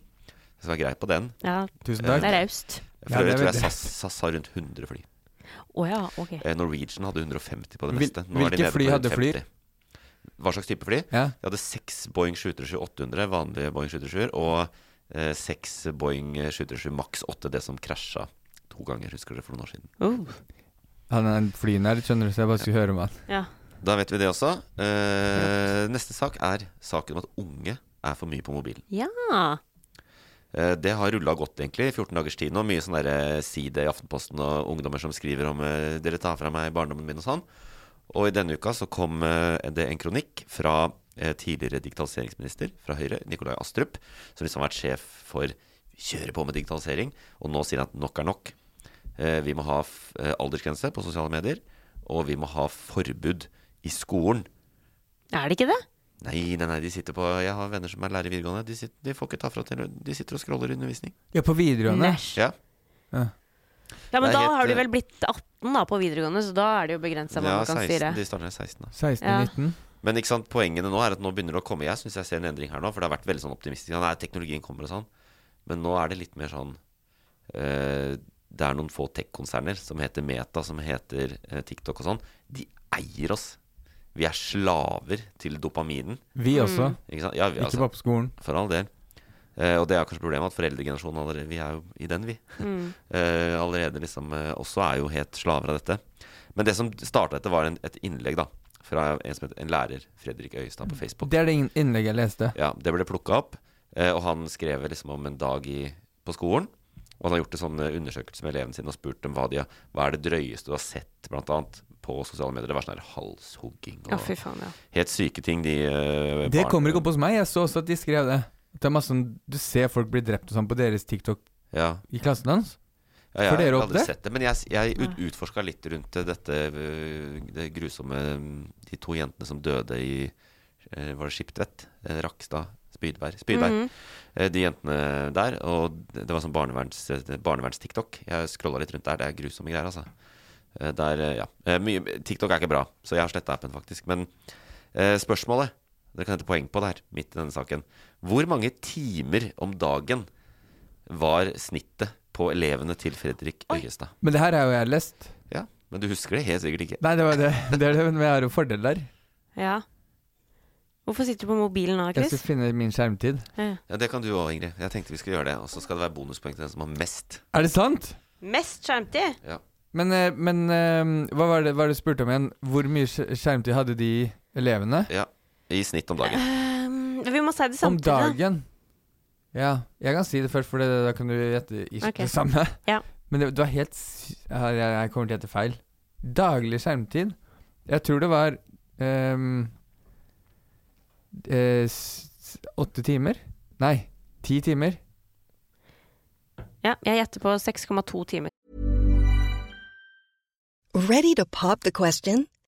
Speaker 1: Så det var greit på den.
Speaker 3: Ja,
Speaker 2: Tusen
Speaker 3: det
Speaker 2: takk.
Speaker 3: er raust.
Speaker 1: For
Speaker 2: Ja, det
Speaker 1: øvrig
Speaker 2: er
Speaker 1: tror jeg
Speaker 2: veldig-
Speaker 1: SAS, SAS har rundt 100 fly.
Speaker 3: Å ja, ok.
Speaker 1: Eh, Norwegian hadde 150 på det
Speaker 2: Hvil-
Speaker 1: meste. Nå er de
Speaker 2: hvilke
Speaker 1: nede på
Speaker 2: fly
Speaker 1: rundt
Speaker 2: hadde Flyr?
Speaker 1: 50. Hva slags type fly?
Speaker 2: Ja.
Speaker 1: De hadde seks Boeing 737-800, vanlige Boeing 737, og eh, seks Boeing 737 Max 8, det som krasja to ganger, husker dere, for noen år siden.
Speaker 3: Uh,
Speaker 2: Han er en flynerd, skjønner du, så jeg bare skulle høre om han.
Speaker 3: ja.
Speaker 1: Da vet vi det også. Eh, neste sak er saken om at unge er for mye på mobilen.
Speaker 3: ja.
Speaker 1: Eh, Det har rulla godt, egentlig, i 14 dagers tid nå. Mye sånn derre side i Aftenposten og ungdommer som skriver om eh, 'Dere tar fra meg barndommen min' og sånn. Og i denne uka så kom eh, det en kronikk fra eh, tidligere digitaliseringsminister fra Høyre, Nikolai Astrup, som liksom har vært sjef for 'kjøre på med digitalisering', og nå sier han at nok er nok. Eh, Vi må ha f- eh, aldersgrense på sosiale medier, og vi må ha forbud i skolen.
Speaker 3: Er det ikke det?
Speaker 1: Nei, nei, nei, de sitter på Jeg har venner som er lærere i videregående. De sitter, de får ikke ta fra til De sitter og scroller undervisning.
Speaker 2: Ja, på videregående.
Speaker 3: Næsj.
Speaker 1: Ja.
Speaker 3: Ja,
Speaker 1: Det
Speaker 3: men
Speaker 1: er
Speaker 3: da
Speaker 1: helt,
Speaker 3: har du
Speaker 1: eh,
Speaker 3: vel blitt 18 da på videregående, så da er det jo begrensa hva
Speaker 1: Ja,
Speaker 3: man kan
Speaker 1: 16,
Speaker 3: styre.
Speaker 1: De starter 16 da.
Speaker 2: 16-19.
Speaker 1: Men ikke sant, poengene nå er at nå begynner det å komme. Jeg syns jeg ser en endring her nå, for det har vært veldig sånn optimistisk. Ja, nei, teknologien kommer og sånn. Men nå er det litt mer sånn eh, Det er noen få tech-konserner som heter Meta, som heter eh, TikTok og sånn. De eier oss. Vi er slaver til dopaminen.
Speaker 2: Vi
Speaker 3: Mm.
Speaker 2: også.
Speaker 1: Ikke sant? Ja, vi,
Speaker 2: Ikke
Speaker 1: altså,
Speaker 2: bare på skolen.
Speaker 1: for all del. Eh, og det er kanskje problemet at foreldregenerasjonen allerede Vi er jo i den, vi.
Speaker 3: Mm.
Speaker 1: eh, allerede liksom eh, også er jo helt slaver av dette. Men det som starta dette, var en, et innlegg da fra en som heter en lærer, Fredrik Øyestad,
Speaker 3: Mm.
Speaker 1: på Facebook.
Speaker 2: Det er det inn- innlegget jeg leste.
Speaker 1: Ja, det ble plukka opp, eh, og han skrev liksom om en dag i, på skolen. Og han har gjort en sånn eh, undersøkelse med elevene sine og spurt dem hva, de, har- hva er det drøyeste du har sett blant annet, på sosiale medier. Det var sånn her halshogging og
Speaker 3: Ja, fy faen, ja.
Speaker 1: helt syke ting. De, eh,
Speaker 2: Det
Speaker 1: barn-
Speaker 2: kommer ikke opp hos meg. Jeg så også at de skrev det. At Det er masse sånn, Du ser folk bli drept og sånn på deres TikTok
Speaker 1: Ja.
Speaker 2: i klassen hans.
Speaker 1: Ja, jeg
Speaker 2: Får dere
Speaker 1: har
Speaker 2: opp
Speaker 1: aldri
Speaker 2: det? Ah.
Speaker 1: sett det, men jeg, jeg ut, utforska litt rundt dette øh, det grusomme øh, De to jentene som døde i eh, Var det Skiptvet? Eh, Rakstad? Spydberg? Spydberg.
Speaker 2: Mhm.
Speaker 1: Eh, De jentene der. Og det det var sånn barneverns, eh, barneverns-TikTok. Jeg scrolla litt rundt der. Det er grusomme greier, altså. Eh, Der, eh, ja. Eh, Mye, TikTok er ikke bra, så jeg har sletta appen, faktisk. Men eh, spørsmålet Dere kan hente poeng på det her, midt i denne saken. Hvor mange timer om dagen var snittet på elevene til Fredrik Øyestad.
Speaker 2: Men det her er jo jeg lest.
Speaker 1: Ja, men du husker det helt sikkert ikke.
Speaker 2: Nei, det var det. det, er det men jeg har jo fordel der.
Speaker 3: ja. Hvorfor sitter du på mobilen nå,
Speaker 2: Jeg skal
Speaker 3: Chris?
Speaker 2: finne min skjermtid.
Speaker 3: Ja.
Speaker 1: Ja, Det kan du òg, Ingrid. Jeg tenkte vi skulle gjøre det. Og så skal det være bonuspoeng til den som har mest.
Speaker 2: Er det sant?
Speaker 3: Mest skjermtid?
Speaker 1: Ja.
Speaker 2: Men, eh, men eh, hva var det, hva var det du spurte om igjen? Hvor mye skj- skjermtid hadde de elevene?
Speaker 1: ja. I snitt om dagen.
Speaker 3: Um, vi må si det
Speaker 2: Om
Speaker 3: samtidig. da.
Speaker 2: dagen? Ja, jeg kan si det først, for det, da kan du gjette i-
Speaker 3: Ok.
Speaker 2: det samme.
Speaker 3: Ja.
Speaker 2: Men det, det var helt sy- ja, Jeg jeg kommer til å gjette feil. Daglig skjermtid? Jeg tror det var ehm, eh, s- s- Åtte timer? Nei, ti timer.
Speaker 3: Ja, jeg gjetter på 6,2 timer.
Speaker 5: Ready to pop the question?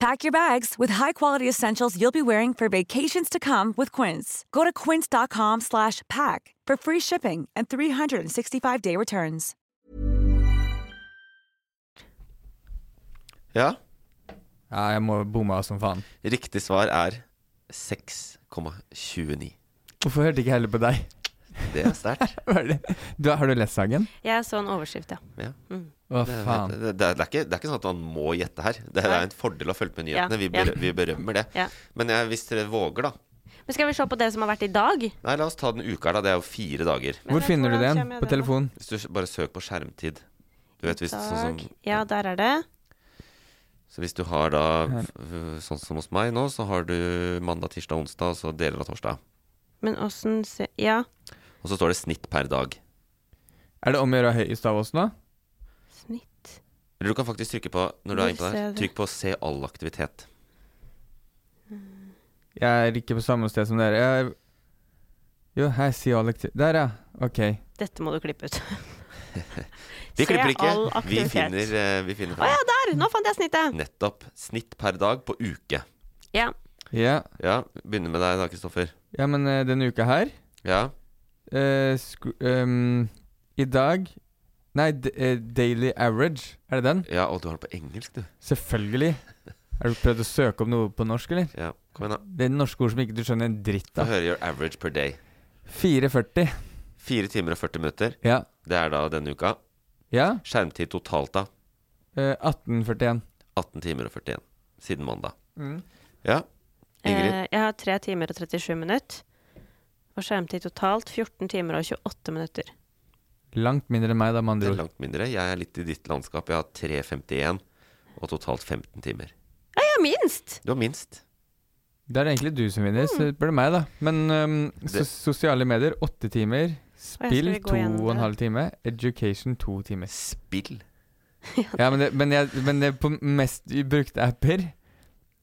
Speaker 6: Pack your bags with high-quality essentials you'll be wearing for vacations to come with Quince. Go to quince.com/pack slash pack for free shipping and 365-day returns.
Speaker 1: Ja,
Speaker 2: Ja, jeg må bomma som faen.
Speaker 1: riktig svar er 6,29.
Speaker 2: Hvorfor hørte ikke jeg heller på deg?
Speaker 1: Det er sterkt.
Speaker 2: Hva er det? Du, har du lest saken?
Speaker 3: Jeg så en overskrift, ja. Mm.
Speaker 1: Ja.
Speaker 2: Å,
Speaker 1: Det,
Speaker 2: faen.
Speaker 1: det, det, er ikke, det er ikke sånn at man må gjette her. Det er en fordel å følge med
Speaker 3: Ja,
Speaker 1: nyhetene. Vi,
Speaker 3: ja.
Speaker 1: ber, vi berømmer det.
Speaker 3: Ja.
Speaker 1: Men jeg, hvis dere våger, da
Speaker 3: Men skal vi se på det som har vært i dag?
Speaker 1: Nei, la oss ta den uka her, da. Det er jo fire dager.
Speaker 2: Hvor finner du
Speaker 3: hvordan
Speaker 2: den?
Speaker 3: kommer jeg
Speaker 2: På
Speaker 3: den da?
Speaker 2: telefon?
Speaker 1: Hvis du bare søker på skjermtid Du vet hvis sånn
Speaker 3: Dag.
Speaker 1: som
Speaker 3: Ja, der er det.
Speaker 1: Så hvis du har da f- f- Sånn som hos meg nå, så har du mandag, tirsdag, onsdag, og så deler av torsdag.
Speaker 3: Men åssen se... Ja.
Speaker 1: Og så står det snitt per dag.
Speaker 2: Er det om å gjøre høyest av oss nå?
Speaker 3: Snitt
Speaker 1: Eller du kan faktisk trykke på Når du
Speaker 3: Hvor
Speaker 1: er inne på
Speaker 3: ser jeg
Speaker 1: der,
Speaker 3: det?
Speaker 1: trykk på 'se all aktivitet'.
Speaker 2: Jeg er ikke på samme sted som dere. Jeg... Jo, her sier Alex Der, ja. Ok.
Speaker 3: Dette må du klippe ut.
Speaker 1: Vi klipper ikke.
Speaker 3: all
Speaker 1: Vi
Speaker 3: aktivitet.
Speaker 1: finner, eh, vi finner
Speaker 3: Å ja, der! Nå fant jeg snittet!
Speaker 1: nettopp snitt per dag på uke.
Speaker 3: Ja.
Speaker 2: Ja,
Speaker 1: Ja, begynner med deg da, Kristoffer.
Speaker 2: ja men eh, denne uka her
Speaker 1: Ja.
Speaker 2: eh, sku, ehm, I dag Nei, d eh, Daily Average. Er det den?
Speaker 1: Ja, og du har det på engelsk, du.
Speaker 2: Selvfølgelig. Har du prøvd å søke opp noe på norsk, eller?
Speaker 1: Ja, kom igjen, da.
Speaker 2: Det er norske ord som ikke du skjønner en dritt
Speaker 1: Få
Speaker 2: av.
Speaker 1: høre your average per day.
Speaker 2: 4,40.
Speaker 1: 4 timer og 40 minutter.
Speaker 2: Ja.
Speaker 1: Det er da denne uka.
Speaker 2: Ja.
Speaker 1: Skjermtid totalt, da.
Speaker 2: Eh, 18,41.
Speaker 1: 18 timer og 41. Siden mandag.
Speaker 2: Mm.
Speaker 1: Ja. Ingrid?
Speaker 3: Eh, jeg har 3 timer og 37 minutter. Og skjermtid totalt 14 timer og 28 minutter.
Speaker 2: Langt mindre enn meg, da, med
Speaker 1: det
Speaker 2: andre
Speaker 1: er
Speaker 2: ord.
Speaker 1: langt mindre. Jeg er litt i ditt landskap. Jeg har 3.51 og totalt 15 timer.
Speaker 3: Ja, jeg er minst!
Speaker 1: Du har minst.
Speaker 2: Da er det egentlig du som vinner,
Speaker 3: Mm.
Speaker 2: så spør du meg, da. Men ehm, so
Speaker 1: Det-
Speaker 2: sosiale medier, åtte timer.
Speaker 3: skal vi
Speaker 2: Spill,
Speaker 3: gå
Speaker 2: to
Speaker 3: gjennom
Speaker 2: og en
Speaker 3: det?
Speaker 2: halv time. Education, to timer.
Speaker 1: Spill.
Speaker 2: Ja, men det, men jeg, men det er på mest brukte apper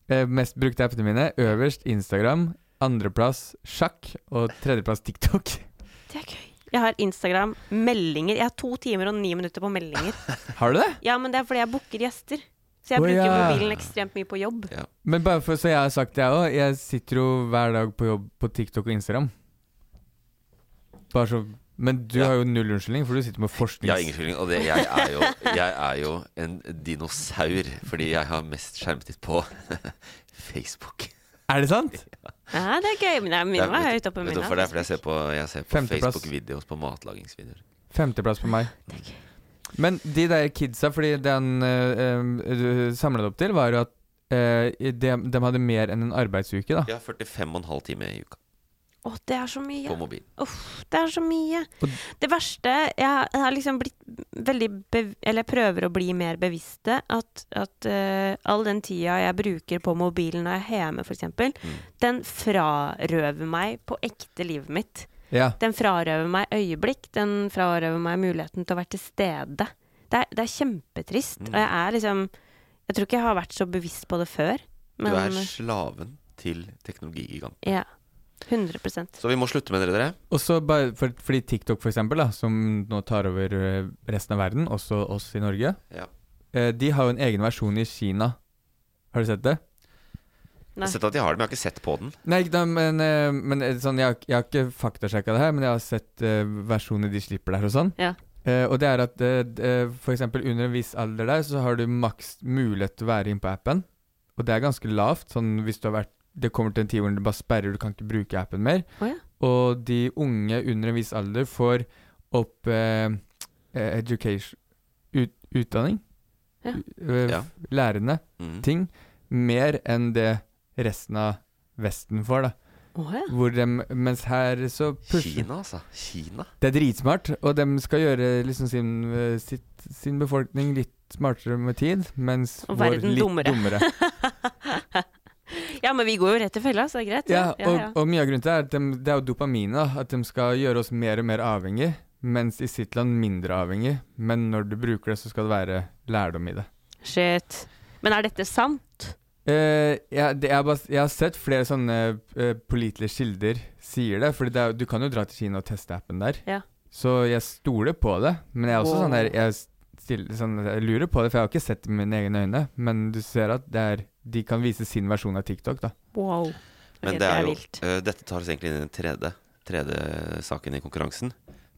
Speaker 2: eh, Mest brukte appene mine Øverst Instagram Andreplass sjakk Og tredjeplass TikTok
Speaker 3: Det er gøy. Jeg har Instagram, meldinger. Jeg har to timer og ni minutter på meldinger.
Speaker 2: Har du det?
Speaker 3: Ja, men det er fordi jeg booker gjester. Så jeg
Speaker 2: Å,
Speaker 3: bruker
Speaker 2: ja.
Speaker 3: mobilen ekstremt mye på jobb.
Speaker 1: Ja.
Speaker 2: Men bare for så jeg har sagt det også Jeg sitter jo hver dag på jobb på TikTok og Instagram Bare så Men du
Speaker 1: Ja.
Speaker 2: har jo null unnskyldning For du sitter med forsknings
Speaker 1: Jeg har ingen skyldning. Og det, jeg, er jo, jeg er jo en dinosaur fordi jeg har mest skjermtid på Facebook.
Speaker 2: Er det sant?
Speaker 3: Ja, det er gøy. Men jeg minner meg høyt oppe
Speaker 1: Vet
Speaker 3: med
Speaker 1: du hvorfor det er fordi jeg ser på, jeg ser på
Speaker 2: Femteplass.
Speaker 1: Facebook-videoer, på matlagingsvideoer.
Speaker 2: Femteplass på meg Men de der kidsa Fordi den eh, eh, du samlet opp til Var jo at eh, de, de hadde mer enn en arbeidsuke da
Speaker 1: Jeg har 45,5 timer i uka
Speaker 3: Å, det er så mye.
Speaker 1: på mobil.
Speaker 3: Uff, det er så mye.
Speaker 2: Og-
Speaker 3: Det verste Jeg har- jeg har liksom blitt veldig bev Eller jeg prøver å bli mer bevisst det. At, at eh, all den tida jeg bruker på mobilen når jeg er hjemme, f.eks.,
Speaker 1: Mm.
Speaker 3: den frarøver meg på ekte livet mitt.
Speaker 2: Ja
Speaker 3: Den frarøver meg øyeblikk. Den frarøver meg muligheten til å være til stede. Det er, det er kjempetrist.
Speaker 1: Mm.
Speaker 3: Og jeg er liksom Jeg tror ikke jeg har vært så bevisst på det før.
Speaker 1: Du
Speaker 3: Men
Speaker 1: er slaven til teknologigiganten.
Speaker 3: ja. 100
Speaker 1: Så vi må slutte med dere, dere.
Speaker 2: Og så bare for, fordi TikTok for eksempel da, som nå tar over eh, resten av verden, også oss i Norge,
Speaker 1: Ja.
Speaker 2: eh, de har jo en egen versjon i Kina. Har du sett det?
Speaker 1: Jeg har sett at de har det, men jeg har ikke sett på den.
Speaker 2: Nei, ikke da, men, eh, men eh, sånn, jeg, har ikke- jeg har ikke faktasjekka det her, men jeg har sett eh, versjoner de slipper der og sånn.
Speaker 3: Ja.
Speaker 2: Eh, og det er at eh, d- eh, for eksempel under en viss alder der, så har du maks mulighet til å være inne på appen. Og det er ganske lavt, sånn hvis du har vært Det kommer til en tid hvor du bare sperrer, du kan ikke bruke appen mer.
Speaker 3: Å ja.
Speaker 2: Og de unge under en viss alder får opp eh, eh, education ut, Utdanning.
Speaker 3: Ja.
Speaker 2: U- eh,
Speaker 1: Ja.
Speaker 2: Lærende
Speaker 1: Mm.
Speaker 2: ting. Mer enn det resten av Vesten får, da.
Speaker 3: Å ja.
Speaker 2: Hvor dem- mens her så pusher
Speaker 1: Kina, altså. Kina.
Speaker 2: Det er dritsmart, og de skal gjøre liksom sin, eh, sitt, sin befolkning litt smartere med tid, mens
Speaker 3: Og
Speaker 2: vår
Speaker 3: verden
Speaker 2: litt
Speaker 3: dummere.
Speaker 2: dummere.
Speaker 3: ja, men vi går jo rett i fella, så det er greit.
Speaker 2: Ja, og, og mye av grunnen til det er at dem- det er jo dopamin, da, at de skal gjøre oss mer og mer avhengig, mens i sitt land mindre avhengig. Men når du bruker det, så skal det være lærdom i det.
Speaker 3: Shit. Men er dette sant?
Speaker 2: Eh, jeg, det, jeg, har bare, s- jeg har sett flere sånne eh, pålitelige kilder sier det, for du kan jo dra til Kina og teste appen der.
Speaker 3: Ja.
Speaker 2: Så jeg stoler på det, men jeg er også
Speaker 3: Wow.
Speaker 2: sånn der jeg, stiller, sånn, jeg lurer på det, for jeg har ikke sett det med mine egne øyne. Men du ser at det er, de kan vise sin versjon av TikTok, da.
Speaker 3: Wow.
Speaker 1: Men
Speaker 3: Ok,
Speaker 1: det er jo
Speaker 3: vilt.
Speaker 1: eh, Dette tar oss egentlig inn i den tredje, tredje saken i konkurransen,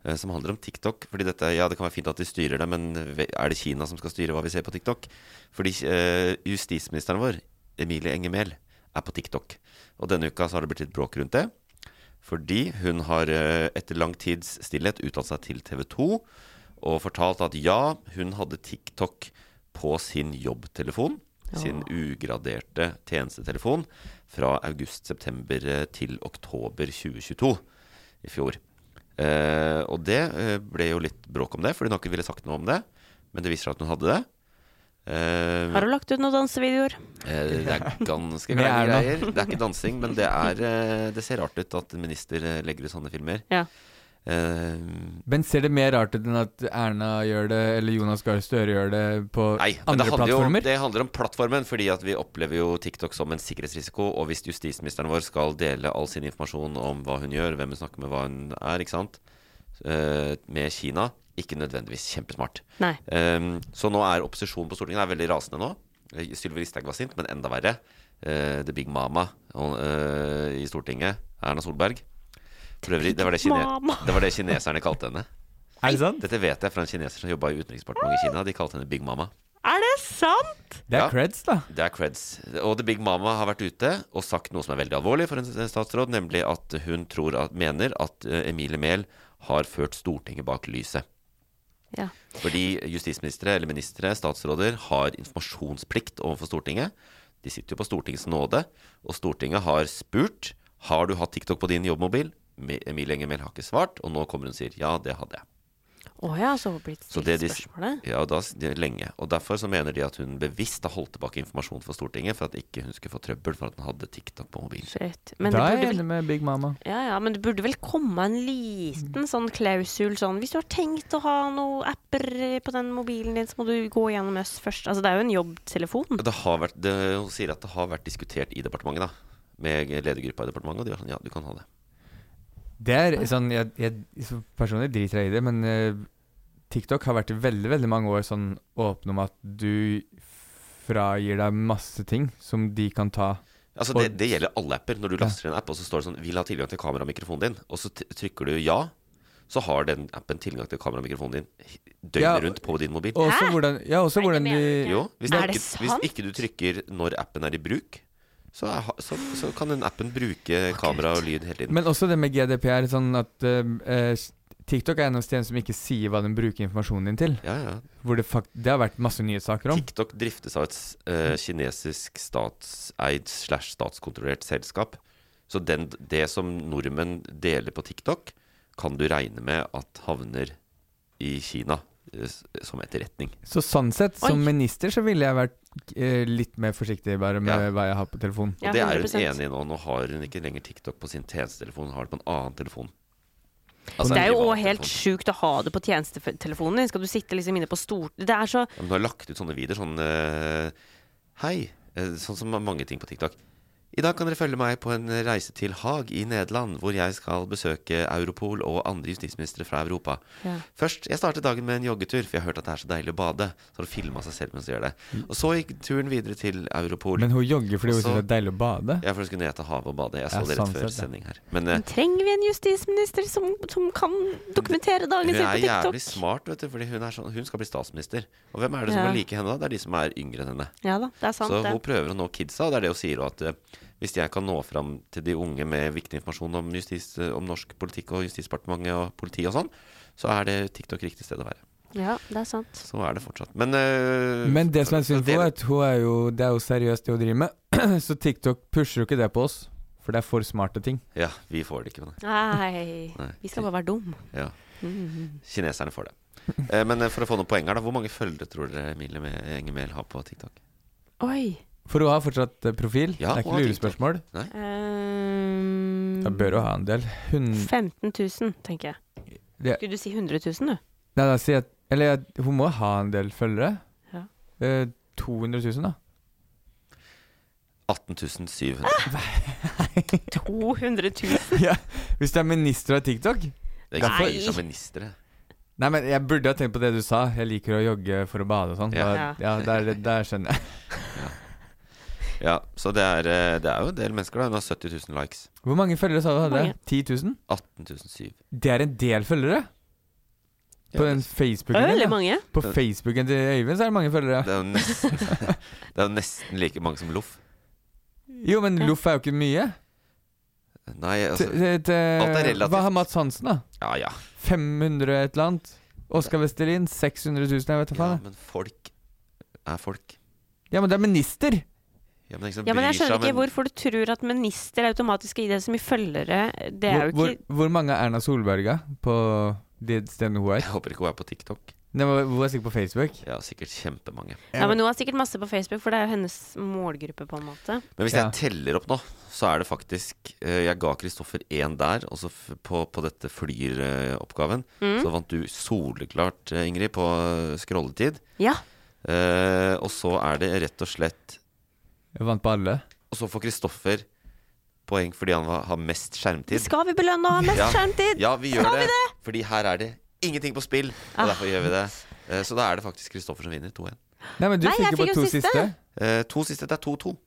Speaker 1: eh, som handler om TikTok. Fordi dette, ja, det kan være fint at de styrer det, men ve- er det Kina som skal styre hva vi ser på TikTok? Fordi eh, justisministeren vår, Emilie Enger Mehl, er på TikTok. Og denne uka så har det blitt litt bråk rundt det. Fordi hun har eh, etter lang tids stillhet uttalt seg til TV 2 og fortalt at ja, hun hadde TikTok på sin jobbtelefon. Sin ugraderte tjenestetelefon fra august-september eh, til oktober 2022 i fjor. Eh, og det eh, ble jo litt bråk om det, fordi hun har ikke ville sagt noe om det. Men det viser seg at hun hadde det. Eh,
Speaker 3: Har du lagt ut noen dansevideoer?
Speaker 1: Eh, Det er ganske
Speaker 2: Det
Speaker 1: kleine
Speaker 2: er noe.
Speaker 1: greier. Det er ikke dansing, men det, er, eh, det ser rart ut at en minister eh, legger ut sånne filmer.
Speaker 3: Ja.
Speaker 1: Eh,
Speaker 2: Men ser det mer rart ut enn at Erna gjør det, eller Jonas Gahr Støre gjør det på
Speaker 1: Nei, men det
Speaker 2: andre
Speaker 1: handler, jo,
Speaker 2: plattformer?
Speaker 1: det handler om plattformen, fordi at vi opplever jo TikTok som en sikkerhetsrisiko. Og hvis justisministeren vår skal dele all sin informasjon om hva hun gjør, hvem hun snakker med, hva hun er, ikke sant, eh, med Kina, ikke nødvendigvis kjempesmart.
Speaker 3: Nei.
Speaker 1: Ehm, så nå er opposisjonen på Stortinget er veldig rasende nå. Eh, Sylvi Listhaug var sint, men enda verre. Eh, the Big Mama og, eh, i Stortinget, Erna Solberg. For øvrig, det var det, kine
Speaker 3: Mama.
Speaker 1: det var det kineserne kalte henne.
Speaker 2: Er det sant?
Speaker 1: Dette vet jeg fra en kineser som jobba i utenriksdepartementet i Kina. De kalte henne Big Mama.
Speaker 3: Er det sant?
Speaker 2: Det er
Speaker 1: Ja.
Speaker 2: creds, da.
Speaker 1: Det er creds. Og The Big Mama har vært ute og sagt noe som er veldig alvorlig for en statsråd, nemlig at hun tror at, mener at eh, Emilie Mehl har ført Stortinget bak lyset.
Speaker 3: Ja.
Speaker 1: Fordi justisministre eller ministre, statsråder, har informasjonsplikt overfor Stortinget. De sitter jo på Stortingets nåde, og Stortinget har spurt har du hatt TikTok på din jobbmobil. Me- Emilie Enger Mehl har ikke svart, og nå kommer hun og sier ja, det hadde jeg.
Speaker 3: Å ja, så har det blitt
Speaker 1: Så
Speaker 3: stilt
Speaker 1: det de,
Speaker 3: spørsmålet.
Speaker 1: ja, og da, det er lenge. Og Derfor så mener de at hun bevisst har holdt tilbake informasjon for Stortinget for at ikke hun skulle få trøbbel for at hun hadde TikTok på mobilen.
Speaker 3: Shit. Men det
Speaker 2: da er
Speaker 3: burde
Speaker 2: jeg
Speaker 3: vel
Speaker 2: enig med Big Mama.
Speaker 3: ja, ja, men det burde vel komme en liten sånn klausul sånn Hvis du har tenkt å ha noen apper på den mobilen din, så må du gå gjennom oss først. Altså, det er jo en jobbtelefon.
Speaker 1: Det har vært, det, hun sier at det har vært diskutert i departementet, da. Med ledergruppa i departementet, og de var sånn ja, du kan ha det.
Speaker 2: Det er sånn jeg, jeg, så Personlig driter jeg i det, men eh, TikTok har vært i veldig veldig mange år sånn åpen om at du fragir deg masse ting som de kan ta.
Speaker 1: Altså
Speaker 2: Og-
Speaker 1: det, det gjelder alle apper. Når du laster en app, og så står det sånn 'Vil ha tilgang til kamera og mikrofonen din', og så t trykker du ja, så har den appen tilgang til kamera og mikrofonen din h-
Speaker 2: Ja,
Speaker 1: døgnet rundt på din mobil.
Speaker 2: Og også hvordan, ja, også hvordan de
Speaker 1: Jo, hvis,
Speaker 3: Er
Speaker 1: du
Speaker 3: det
Speaker 1: ikke, hvis
Speaker 3: sant?
Speaker 1: ikke du trykker når appen er i bruk, så, er, ha- så, så kan den appen bruke kamera og lyd hele tiden.
Speaker 2: Men også det med GDPR, sånn at eh, eh, TikTok er en av stedene som ikke sier hva den bruker informasjonen din til.
Speaker 1: Ja, ja.
Speaker 2: Hvor det, fakt det har vært masse nyhetssaker om.
Speaker 1: TikTok driftes av et s- eh, kinesisk statseid slash statskontrollert selskap. Så den, det som nordmenn deler på TikTok, kan du regne med at havner i Kina eh, s- som etterretning.
Speaker 2: Så sånn sett,
Speaker 3: Oi.
Speaker 2: som minister, så ville jeg vært eh, litt mer forsiktig bare med
Speaker 1: Ja.
Speaker 2: hva jeg har på telefonen.
Speaker 1: Og
Speaker 3: Ja,
Speaker 1: det er
Speaker 3: 100%.
Speaker 1: hun enig i nå. Nå har hun ikke lenger TikTok på sin tjenestetelefon, hun har det på en annen telefon. Altså,
Speaker 3: det er
Speaker 1: en
Speaker 3: jo
Speaker 1: privat
Speaker 3: også helt
Speaker 1: telefon.
Speaker 3: sjukt å ha det på tjenestetelefonen din. Skal du sitte liksom inne på stort... Det er så
Speaker 1: Ja, men Hun har lagt ut sånne videoer sånn eh, Hei. eh, sånn som mange ting på TikTok. I dag kan dere følge meg på en reise til Haag i Nederland, hvor jeg skal besøke Europol og andre justisministre fra Europa.
Speaker 3: Ja.
Speaker 1: Først, Jeg startet dagen med en joggetur, for jeg har hørt at det er så deilig å bade. Så har hun filma seg selv mens hun gjør det. Og så gikk turen videre til Europol.
Speaker 2: Mm. Men hun jogger fordi hun
Speaker 1: Også-
Speaker 2: syns det er deilig å bade.
Speaker 1: Ja, for hun skulle ned til havet og bade. Jeg så
Speaker 2: Ja,
Speaker 1: det rett
Speaker 2: sånn
Speaker 1: før
Speaker 2: sett, ja.
Speaker 1: sending her. Men eh,
Speaker 3: Trenger vi en justisminister som, som kan dokumentere dagen
Speaker 1: Hun
Speaker 3: sin på
Speaker 1: er
Speaker 3: TikTok?
Speaker 1: jævlig smart, vet du, fordi hun, er sånn, hun skal bli statsminister. Og hvem er det som
Speaker 3: Ja.
Speaker 1: vil like henne da? Det er de som er yngre enn henne.
Speaker 3: Ja da, det er sant,
Speaker 1: så
Speaker 3: det.
Speaker 1: hun prøver å nå kidsa, og det er det hun sier også, at eh, hvis jeg kan nå fram til de unge med viktig informasjon om, justis, eh, om norsk politikk og Justisdepartementet og politi og sånn, så er det TikTok riktig sted å være.
Speaker 3: Ja, det er sant.
Speaker 1: Så er det fortsatt. Men, eh,
Speaker 2: Men det som er
Speaker 1: så- så
Speaker 2: synd for henne, er at hun er jo, det er jo seriøst det hun driver med. Så TikTok pusher jo ikke det på oss, for det er for smarte ting.
Speaker 1: Ja, vi får det ikke. Men,
Speaker 3: Nei,
Speaker 1: Nei.
Speaker 3: vi skal bare være dum.
Speaker 1: ja.
Speaker 3: Mm.
Speaker 1: Kineserne får det. Eh, Men eh, for å få noen poeng her, da. Hvor mange følgere tror dere Emilie Me- Enger Mehl har på TikTok?
Speaker 3: Oi.
Speaker 2: For hun har fortsatt eh, profil.
Speaker 1: Ja,
Speaker 2: det er
Speaker 1: hun
Speaker 2: ikke
Speaker 1: har
Speaker 2: lurespørsmål.
Speaker 3: ehm,
Speaker 2: Da bør hun ha en del. Hun
Speaker 3: 15 000, Ehm, tenker jeg.
Speaker 2: det,
Speaker 3: Skulle du si 100 000, du?
Speaker 2: Nei, da sier jeg Eller jeg- hun må ha en del følgere.
Speaker 3: Ja.
Speaker 2: Eh, 200 000, da.
Speaker 1: 18 700.
Speaker 3: Ah! 200 000?
Speaker 2: ja, hvis du er minister av TikTok?
Speaker 1: Det er ikke
Speaker 3: Nei.
Speaker 1: flere som ministre.
Speaker 2: Nei, men jeg burde ha tenkt på det du sa. Jeg liker å jogge for å bade og sånn.
Speaker 1: Ja.
Speaker 2: Da- Ja, der, der skjønner jeg.
Speaker 1: Ja, så det er, eh, det er jo en del mennesker da Hun har 70 000 likes
Speaker 2: Hvor mange følgere sa du
Speaker 3: Hvor
Speaker 2: hadde?
Speaker 3: mange?
Speaker 2: 10 000?
Speaker 1: 18 700
Speaker 2: Det er en del følgere! På den
Speaker 3: Det er
Speaker 2: Facebooken din.
Speaker 3: veldig
Speaker 2: ja.
Speaker 3: mange.
Speaker 2: På Facebooken til Øyvind så er det mange følgere.
Speaker 1: Det er jo nesten, det er jo nesten like mange som Loff
Speaker 2: Jo, men
Speaker 3: Ja.
Speaker 2: loff er jo ikke mye.
Speaker 1: Nei,
Speaker 2: Til-
Speaker 1: altså
Speaker 2: til- til-
Speaker 1: alt er relativt.
Speaker 2: Hva har Mats Hansen, da?
Speaker 1: Ja, ja,
Speaker 2: 500 et eller annet? Oskar Vestelin 600 000, jeg vet da
Speaker 1: ja
Speaker 2: faen. jeg.
Speaker 1: Men folk er folk
Speaker 2: Ja, men det er minister!
Speaker 1: ja, men, det er ikke som
Speaker 3: Ja, men
Speaker 1: bryr
Speaker 3: jeg
Speaker 1: seg
Speaker 3: skjønner
Speaker 1: om
Speaker 3: ikke
Speaker 1: en-
Speaker 3: hvorfor du tror at minister automatisk skal gi deg så mye følgere. Det
Speaker 2: Hvor,
Speaker 3: er jo
Speaker 2: hvor,
Speaker 3: ikke
Speaker 2: hvor mange er Erna Solberg er på de stedene hun er?
Speaker 1: Jeg håper ikke hun er på TikTok
Speaker 2: Nei, men Hun er sikkert på Facebook.
Speaker 1: Ja, sikkert kjempemange
Speaker 3: Ja, men Hun har sikkert masse på Facebook, for det er jo hennes målgruppe. på en måte
Speaker 1: Men hvis
Speaker 2: Ja.
Speaker 1: jeg teller opp nå Så er det faktisk eh, Jeg ga Kristoffer en der Og så f- på, på dette flyr-oppgaven
Speaker 3: Mm.
Speaker 1: Så vant du soleklart, eh, Ingrid På eh, scrolletid
Speaker 3: Ja,
Speaker 1: Eh, Og så er det rett og slett
Speaker 2: Jeg vant på alle.
Speaker 1: Og så får Kristoffer poeng fordi han var- har mest skjermtid.
Speaker 3: Skal vi belønne å ha mest
Speaker 1: Ja.
Speaker 3: skjermtid?
Speaker 1: Ja, vi gjør
Speaker 3: Skal vi
Speaker 1: det, Fordi her er det ingenting på spill, og derfor gjør vi det. Eh, Så da er det faktisk Kristoffer som vinner 2-1.
Speaker 2: Nei, men du
Speaker 3: Nei, jeg
Speaker 2: fikk jo
Speaker 3: fikk
Speaker 2: på
Speaker 3: jo
Speaker 2: to
Speaker 3: siste.
Speaker 2: siste.
Speaker 1: Eh, to siste, det er 2-2.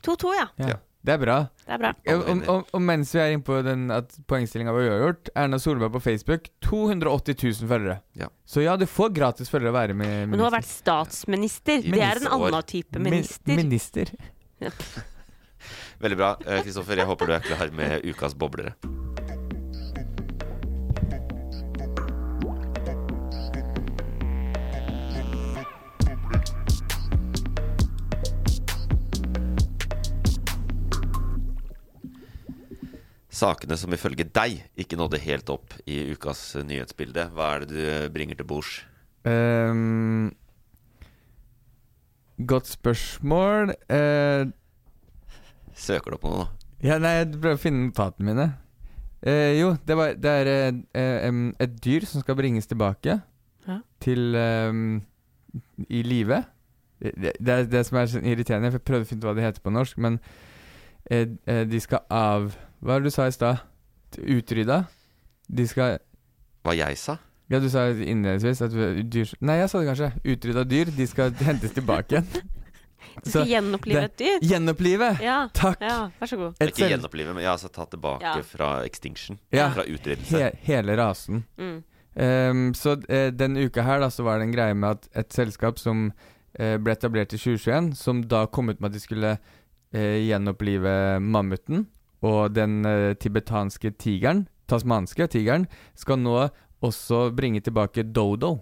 Speaker 3: 2-2, ja.
Speaker 2: Ja.
Speaker 1: Ja.
Speaker 2: Det er bra.
Speaker 3: Det er bra.
Speaker 2: Ja, Og, og, og mens vi er inne på den at poengstillinga var uavgjort, Erna Solberg på Facebook 280 000 følgere.
Speaker 1: Ja.
Speaker 2: Så ja, du får gratis følgere å være med
Speaker 3: Men hun har vært statsminister. Det er en annen type minister.
Speaker 2: Min, minister.
Speaker 1: Veldig bra. Eh, Kristoffer, jeg håper du er klar med ukas boblere. Sakene som ifølge deg ikke nådde helt opp i ukas nyhetsbilde. Hva er det du bringer til bords?
Speaker 2: Ehm, godt spørsmål. Eh,
Speaker 1: Søker du opp noe nå?
Speaker 2: ja, nei, jeg prøver å finne notatene mine. Eh, jo, det, var, det er eh, eh, em, et dyr som skal bringes tilbake
Speaker 3: Ja.
Speaker 2: til em, i live. Det, det er det som er sånn irriterende, for jeg prøvde å finne ut hva det heter på norsk, men eh, eh, de skal av Hva var det du sa i stad? Utrydda? De skal
Speaker 1: Hva jeg sa?
Speaker 2: Ja, du sa innledningsvis at dyr Nei, jeg sa det kanskje. Utrydda dyr, de skal hentes tilbake igjen.
Speaker 3: Du skal gjenopplive et dyr.
Speaker 2: Gjenopplive!
Speaker 3: Ja.
Speaker 2: Takk.
Speaker 3: Ja, vær så god.
Speaker 2: Et
Speaker 1: Ikke
Speaker 2: selv-
Speaker 1: gjenopplive, men jeg har altså tatt tilbake
Speaker 3: Ja.
Speaker 1: fra extinction.
Speaker 2: Ja.
Speaker 1: Fra utryddelse.
Speaker 2: He hele rasen.
Speaker 3: Mm.
Speaker 2: Ehm, så eh, denne uka her da, så var det en greie med at et selskap som eh, ble etablert i 2021, som da kom ut med at de skulle eh, gjenopplive mammuten og den eh, tibetanske tigeren, tasmanske tigeren, skal nå også bringe tilbake dodo.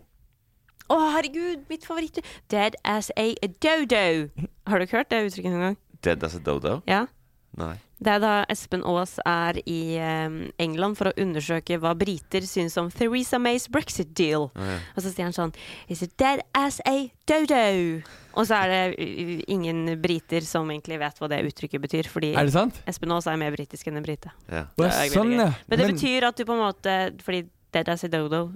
Speaker 3: Å, herregud, mitt favorittdyr. Dead as a dodo. Har du ikke hørt det uttrykket noen gang?
Speaker 1: Dead as a dodo?
Speaker 3: Ja.
Speaker 1: Nei.
Speaker 3: Det er da Espen Aas er i eh, England for å undersøke hva briter syns om Theresa Mays brexit deal.
Speaker 1: Å, ja.
Speaker 3: Og så sier han sånn Is it dead as a dodo? Og så er det uh, ingen briter som egentlig vet hva det uttrykket betyr, fordi
Speaker 2: Er det sant?
Speaker 3: Espen Aas er mer britisk enn en brite.
Speaker 1: Ja.
Speaker 2: Å,
Speaker 3: Det er veldig
Speaker 2: sånn,
Speaker 3: gøy.
Speaker 2: ja.
Speaker 3: Men det betyr at du på en måte Fordi dead as a dodo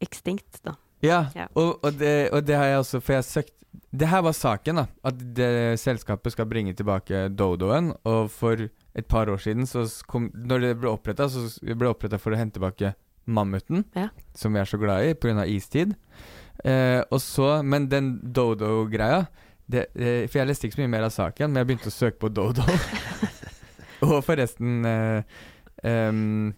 Speaker 3: Extinct, da.
Speaker 2: Ja,
Speaker 3: Ja.
Speaker 2: Og, og, det, og det har jeg også, for jeg har søkt Det her var saken, da. At det, selskapet skal bringe tilbake dodoen. Og for et par år siden, så s- kom, når det ble oppretta, så s- ble det oppretta for å hente tilbake mammuten,
Speaker 3: Ja.
Speaker 2: som vi er så glad i pga. istid. Eh, og så, men den dodo-greia det, eh, For jeg leste ikke så mye mer av saken, men jeg begynte å søke på dodo. og forresten eh, em,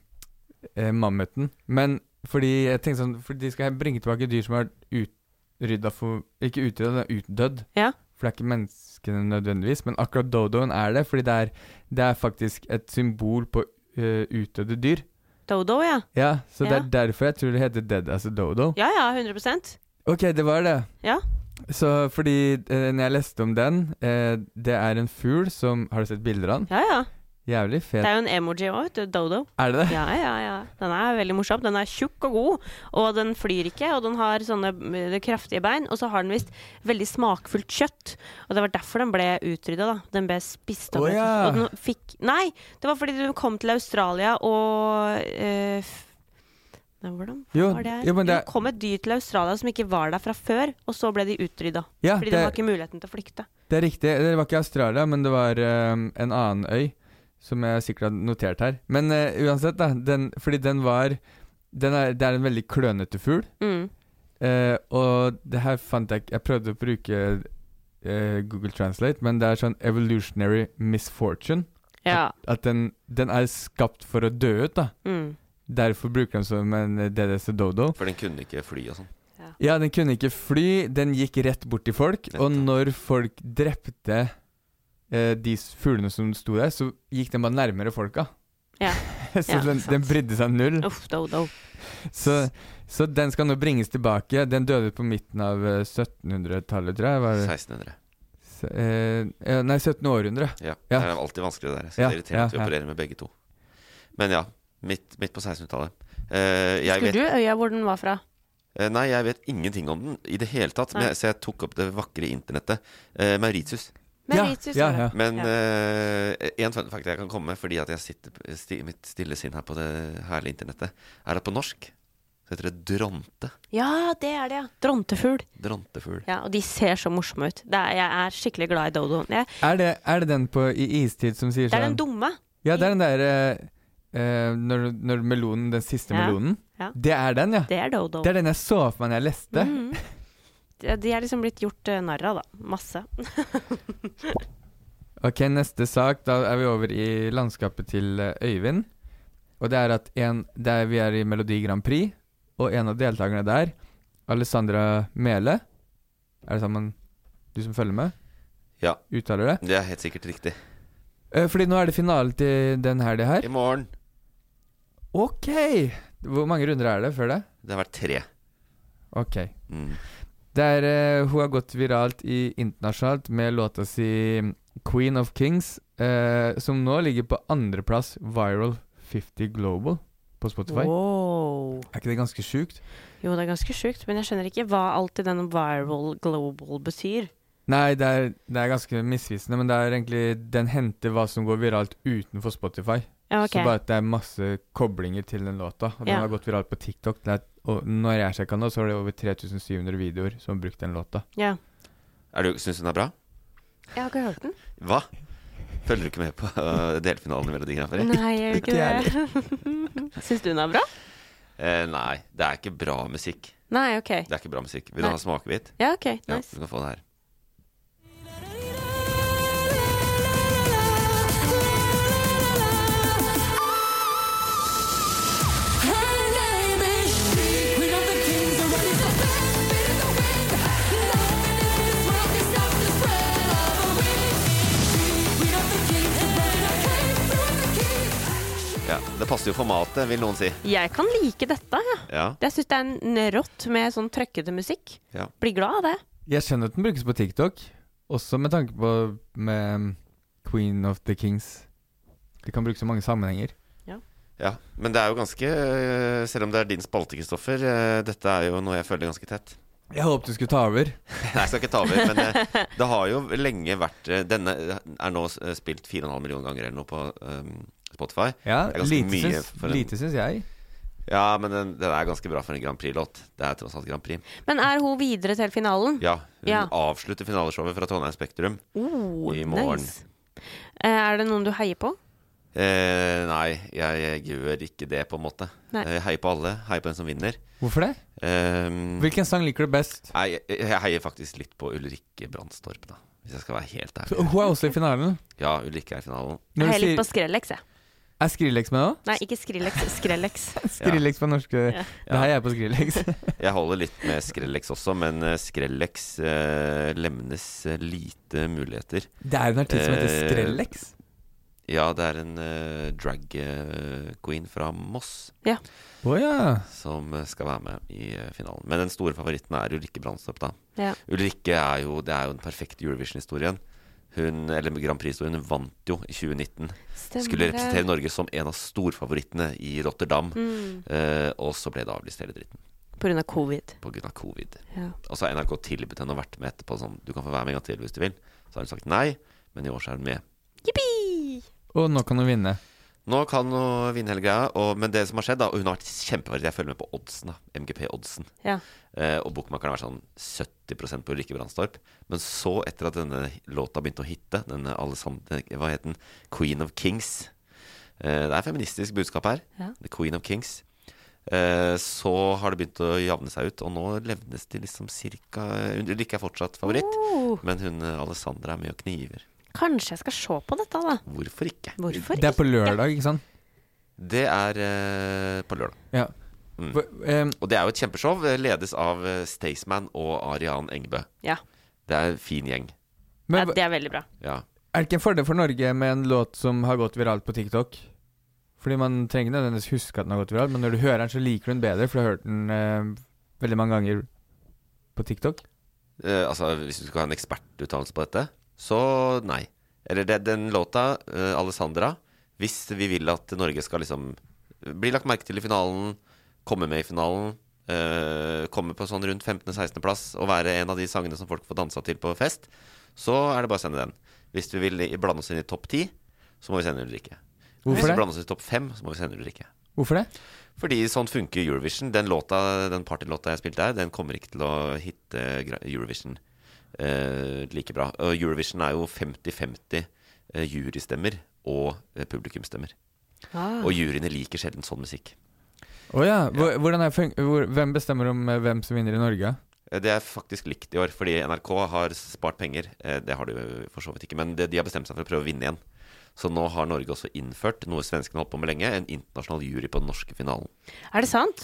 Speaker 2: eh, mammuten. Men fordi jeg tenkte sånn For de skal bringe tilbake dyr som er utrydda for Ikke utrydda, men utdødd.
Speaker 3: Ja.
Speaker 2: For det er ikke menneskene nødvendigvis, men akkurat dodoen er det. Fordi det er, det er faktisk et symbol på eh, utdødde dyr.
Speaker 3: Dodo, ja.
Speaker 2: Ja, så det
Speaker 3: Ja.
Speaker 2: er derfor jeg tror det heter dead as a dodo.
Speaker 3: Ja ja, 100
Speaker 2: Ok, det var det.
Speaker 3: Ja.
Speaker 2: Så fordi eh, når jeg leste om den eh, Det er en fugl som Har du sett bilder av den?
Speaker 3: Ja ja.
Speaker 2: Jævlig
Speaker 3: Det
Speaker 2: fet.
Speaker 3: er jo en emoji òg, vet du. Dodo.
Speaker 2: Er det det?
Speaker 3: Ja, ja, ja. Den er veldig morsom. Den er tjukk og god, og den flyr ikke. Og den har sånne mm, kraftige bein, og så har den visst veldig smakfullt kjøtt. Og det var derfor den ble utrydda, da. Den ble spist opp.
Speaker 2: Å, ja.
Speaker 3: Og den fikk Nei, det var fordi du kom til Australia og eh, f- Nei, hvordan
Speaker 2: Jo,
Speaker 3: var det her?
Speaker 2: jo, men det er-
Speaker 3: Jo, kom et dyr til Australia som ikke var der fra før, og så ble de utrydda.
Speaker 2: Ja,
Speaker 3: fordi
Speaker 2: det-
Speaker 3: de har ikke muligheten til å flykte.
Speaker 2: Det er riktig. Det var ikke Australia, men det var eh, en annen øy. Som jeg sikkert har notert her. Men eh, uansett, da. Den, fordi den var den er, Det er en veldig klønete fugl.
Speaker 3: Mm.
Speaker 2: eh, og det her fant jeg ikke Jeg prøvde å bruke eh, Google Translate, men det er sånn evolutionary misfortune.
Speaker 3: Ja.
Speaker 2: At den, den er skapt for å dø ut, da.
Speaker 3: Mm.
Speaker 2: Derfor bruker den som en eh, DDS Dodo.
Speaker 1: For den kunne ikke fly og sånn.
Speaker 2: Ja, den kunne ikke fly, den gikk rett bort til folk, og når folk drepte eh, de s- fuglene som sto der, så gikk den bare nærmere folka.
Speaker 3: Ja.
Speaker 2: så
Speaker 3: Ja,
Speaker 2: den,
Speaker 3: sant.
Speaker 2: den brydde seg null.
Speaker 3: Uff, dodo.
Speaker 2: Så, så den skal nå bringes tilbake. Den døde på midten av eh, 1700-tallet, tror jeg. Var det?
Speaker 1: 1600.
Speaker 2: S- eh, eh, nei, 17. århundre.
Speaker 1: Ja.
Speaker 2: Ja.
Speaker 1: Det er alltid vanskelig det der. Så det
Speaker 2: Ja,
Speaker 1: er irriterende at vi
Speaker 2: ja, ja.
Speaker 1: opererer med begge to. Men ja, midt, midt på 1600-tallet. Eh, jeg
Speaker 3: Husker
Speaker 1: vet,
Speaker 3: du øya hvor den var fra?
Speaker 1: eh, nei, jeg vet ingenting om den i det hele tatt. Men
Speaker 3: Nei.
Speaker 1: jeg, så jeg tok opp det vakre internettet. Eh, Mauritius.
Speaker 3: Mauritius,
Speaker 2: ja,
Speaker 3: var det.
Speaker 2: ja.
Speaker 1: Men
Speaker 3: Ja.
Speaker 1: én fun fact jeg kan komme med, fordi at jeg sitter p- sti, mitt stille sinn her på det herlige internettet, er at på norsk så heter det dronte.
Speaker 3: Ja, det er det, ja. Drontefugl.
Speaker 1: Drontefugl.
Speaker 3: Ja, og de ser så morsomme ut. Det er, jeg er skikkelig glad i dodoen. Jeg-
Speaker 2: Er det, er det den på, i istid som sier
Speaker 3: Det er den
Speaker 2: sånn
Speaker 3: dumme.
Speaker 2: Ja, det er den der eh, eh, når, når melonen, den siste
Speaker 3: Ja,
Speaker 2: melonen.
Speaker 3: ja.
Speaker 2: Det er den, ja.
Speaker 3: Det er dodo.
Speaker 2: Det er den jeg så for meg når jeg leste.
Speaker 3: Mhm. De- De er liksom blitt gjort eh, narr av, da. Masse.
Speaker 2: Ok, neste sak. Da er vi over i landskapet til eh, Øyvind. Og det er at en, det er, vi er i Melodi Grand Prix, og en av deltakerne der, Alessandra Mele Er det sammen du som følger med?
Speaker 1: Ja.
Speaker 2: Uttaler det?
Speaker 1: Det er helt sikkert riktig.
Speaker 2: Eh, Fordi nå er det finale til den helga her.
Speaker 1: I morgen.
Speaker 2: Ok! Hvor mange runder er det før det?
Speaker 1: Det har vært tre.
Speaker 2: Ok.
Speaker 1: Mm.
Speaker 2: Det er, eh, hun har gått viralt i internasjonalt med låta si mm, Queen of Kings, eh, som nå ligger på andreplass viral 50 global på Spotify.
Speaker 3: Wow.
Speaker 2: Er ikke det ganske sjukt?
Speaker 3: Jo, det er ganske sjukt, men jeg skjønner ikke hva alltid denne viral global betyr.
Speaker 2: Nei, det er, det er ganske misvisende, men det er egentlig den henter hva som går viralt utenfor Spotify.
Speaker 3: Ja, ok.
Speaker 2: Så bare at det er masse koblinger til den låta. Og den
Speaker 3: Ja.
Speaker 2: har gått viralt på TikTok. Det er, og når jeg sjekka nå, så er det over 3700 videoer som har brukt den låta.
Speaker 3: Ja.
Speaker 1: Er du, Syns du den er bra?
Speaker 3: Jeg har ikke hørt den.
Speaker 1: Hva? Følger du ikke med på øh, delfinalen i Melodi Grand Prix?
Speaker 3: Nei, jeg gjør ikke det. Syns du den er bra?
Speaker 1: Eh, nei, det er ikke bra musikk.
Speaker 3: Nei, ok.
Speaker 1: Det er ikke bra musikk. Vil du
Speaker 3: Nei.
Speaker 1: ha smakebit?
Speaker 3: Ja, ok,
Speaker 1: Ja,
Speaker 3: nice.
Speaker 1: du kan få det her. Ja, det passer jo formatet, vil noen si.
Speaker 3: Jeg kan like dette. Ja.
Speaker 1: Ja.
Speaker 3: Jeg syns det er en rått med sånn trøkkete musikk.
Speaker 1: Ja.
Speaker 3: Blir glad av det.
Speaker 2: Jeg skjønner at den brukes på TikTok, også med tanke på med um, Queen of the Kings. Det kan brukes i mange sammenhenger.
Speaker 1: ja. Men det er jo ganske øh, Selv om det er din spalte, Kristoffer, øh, dette er jo noe jeg føler ganske tett.
Speaker 2: Jeg håpet du skulle ta over.
Speaker 1: Nei, jeg skal ikke ta over, men eh, det har jo lenge vært eh, Denne er nå eh, spilt 4,5 millioner ganger eller noe på øhm, Spotify.
Speaker 2: Ja,
Speaker 1: Det er ganske
Speaker 2: lite
Speaker 1: mye
Speaker 2: syns,
Speaker 1: for en-
Speaker 2: lite syns jeg.
Speaker 1: Ja, men den, den er ganske bra for en Grand Prix-låt. Det er tross alt Grand Prix.
Speaker 3: Men er hun videre til finalen?
Speaker 1: Ja, hun
Speaker 3: Ja.
Speaker 1: avslutter finaleshowet fra Trondheim Spektrum.
Speaker 3: Oh,
Speaker 1: I morgen.
Speaker 3: Nice. Eh, Er det noen du heier på?
Speaker 1: Eh, nei, jeg, jeg gjør ikke det, på en måte.
Speaker 3: Nei.
Speaker 1: Eh, Jeg heier på alle. Heier på den som vinner.
Speaker 2: Hvorfor det?
Speaker 1: Ehm,
Speaker 2: Hvilken sang liker du best?
Speaker 1: nei, jeg, jeg heier faktisk litt på Ulrikke Brandstorp, da. Hvis jeg skal være helt
Speaker 2: Så
Speaker 1: ærlig.
Speaker 2: Hun er også i finalen.
Speaker 1: Ja, Ulrikke er i finalen.
Speaker 2: Når
Speaker 3: Jeg
Speaker 2: du
Speaker 3: heier litt
Speaker 2: sier,
Speaker 3: på Skrellex, jeg.
Speaker 2: er Skrillex med nå?
Speaker 3: Nei, ikke Skrellex. Skrellex.
Speaker 2: Skrillex på norske
Speaker 3: Ja.
Speaker 2: Det her er jeg på Skrillex.
Speaker 1: Jeg holder litt med Skrellex også, men eh, Skrellex eh, lemnes eh, lite muligheter.
Speaker 2: Det er jo en artist som heter
Speaker 1: Eh,
Speaker 2: Skrellex.
Speaker 1: Ja, det er en eh, drag eh, queen fra Moss
Speaker 2: Å ja.
Speaker 1: som eh, skal være med i eh, finalen. Men den store favoritten er Ulrikke Brandstorp, da.
Speaker 3: Ja.
Speaker 1: Ulrikke er jo, det er jo den perfekte Eurovision-historien. Hun, eller Grand Prix-historien, hun vant jo i 2019.
Speaker 3: Stemmer
Speaker 1: Skulle
Speaker 3: det.
Speaker 1: representere Norge som en av storfavorittene i Rotterdam.
Speaker 3: Mm.
Speaker 1: Eh, og så ble det avlyst hele dritten
Speaker 3: På grunn av covid.
Speaker 1: pga. covid.
Speaker 3: Ja.
Speaker 1: Og så har NRK tilbudt henne å vært med etterpå. Sånn, du kan få være med en gang til hvis du vil. Så har hun sagt nei, men i år så er hun med.
Speaker 3: Yippee!
Speaker 2: Og nå kan hun vinne.
Speaker 1: Nå kan hun vinne hele greia, og, men det som har skjedd da, og hun har vært kjempeverdig, jeg følger med på oddsen, da, MGP-oddsen.
Speaker 3: Ja.
Speaker 1: Eh, og bookmakeren har vært sånn 70 på Ulrikke Brandstorp. Men så, etter at denne låta begynte å hitte, denne Alessandre, hva het den, Queen of Kings eh, Det er feministisk budskap her.
Speaker 3: Ja.
Speaker 1: The Queen of Kings. Eh, så har det begynt å javne seg ut, og nå levnes de liksom cirka Ulrikke er fortsatt favoritt,
Speaker 3: Oh,
Speaker 1: men hun eh, Alessandra er med og kniver.
Speaker 3: kanskje jeg skal se på dette, da.
Speaker 1: Hvorfor ikke?
Speaker 3: Hvorfor
Speaker 2: Det er på lørdag, ikke
Speaker 1: Mm.
Speaker 2: sant?
Speaker 1: Det er eh, på lørdag.
Speaker 2: Ja.
Speaker 1: Mm.
Speaker 2: Hvor- eh,
Speaker 1: Og det er jo et kjempeshow, eh, ledes av eh, Staysman og Arian Engebø.
Speaker 3: Ja.
Speaker 1: Det er en fin gjeng.
Speaker 2: men
Speaker 3: ja, det er veldig bra.
Speaker 1: Ja.
Speaker 2: Er det ikke en fordel for Norge med en låt som har gått viralt på TikTok? Fordi man trenger ikke nødvendigvis huske at den har gått viralt, men når du hører den, så liker du den bedre, for du har hørt den eh, veldig mange ganger på TikTok.
Speaker 1: Eh, altså, hvis du skal ha en ekspertuttalelse på dette, så nei. Eller det, den låta, eh, Alessandra, hvis vi vil at Norge skal liksom bli lagt merke til i finalen, komme med i finalen, eh, komme på sånn rundt 15.-16. plass og være en av de sangene som folk får dansa til på fest, så er det bare å sende den. Hvis vi vil i- blande oss inn i topp ti, så må vi sende Ulrikke. Hvis
Speaker 2: Hvorfor
Speaker 1: vi
Speaker 2: det?
Speaker 1: blander oss inn i topp fem, så må vi sende Ulrikke.
Speaker 2: Hvorfor det?
Speaker 1: Fordi sånn funker Eurovision. Den låta, den partylåta jeg spilte her, den kommer ikke til å hitte gra- Eurovision eh, like bra. Og Eurovision er jo 50-50 eh, jurystemmer og eh, publikumstemmer.
Speaker 3: Ah.
Speaker 1: Og juryene liker sjelden sånn musikk.
Speaker 2: Å ja. hvor- Hvordan er fun hvor, hvem bestemmer om eh, hvem som vinner i Norge?
Speaker 1: Eh, Det er faktisk likt i år, fordi NRK har spart penger. Eh, Det har de jo for så vidt ikke, men det, de har bestemt seg for å prøve å vinne igjen. Så nå har Norge også innført noe svenskene har holdt på med lenge, en internasjonal jury på den norske finalen.
Speaker 3: Ah. Er det sant?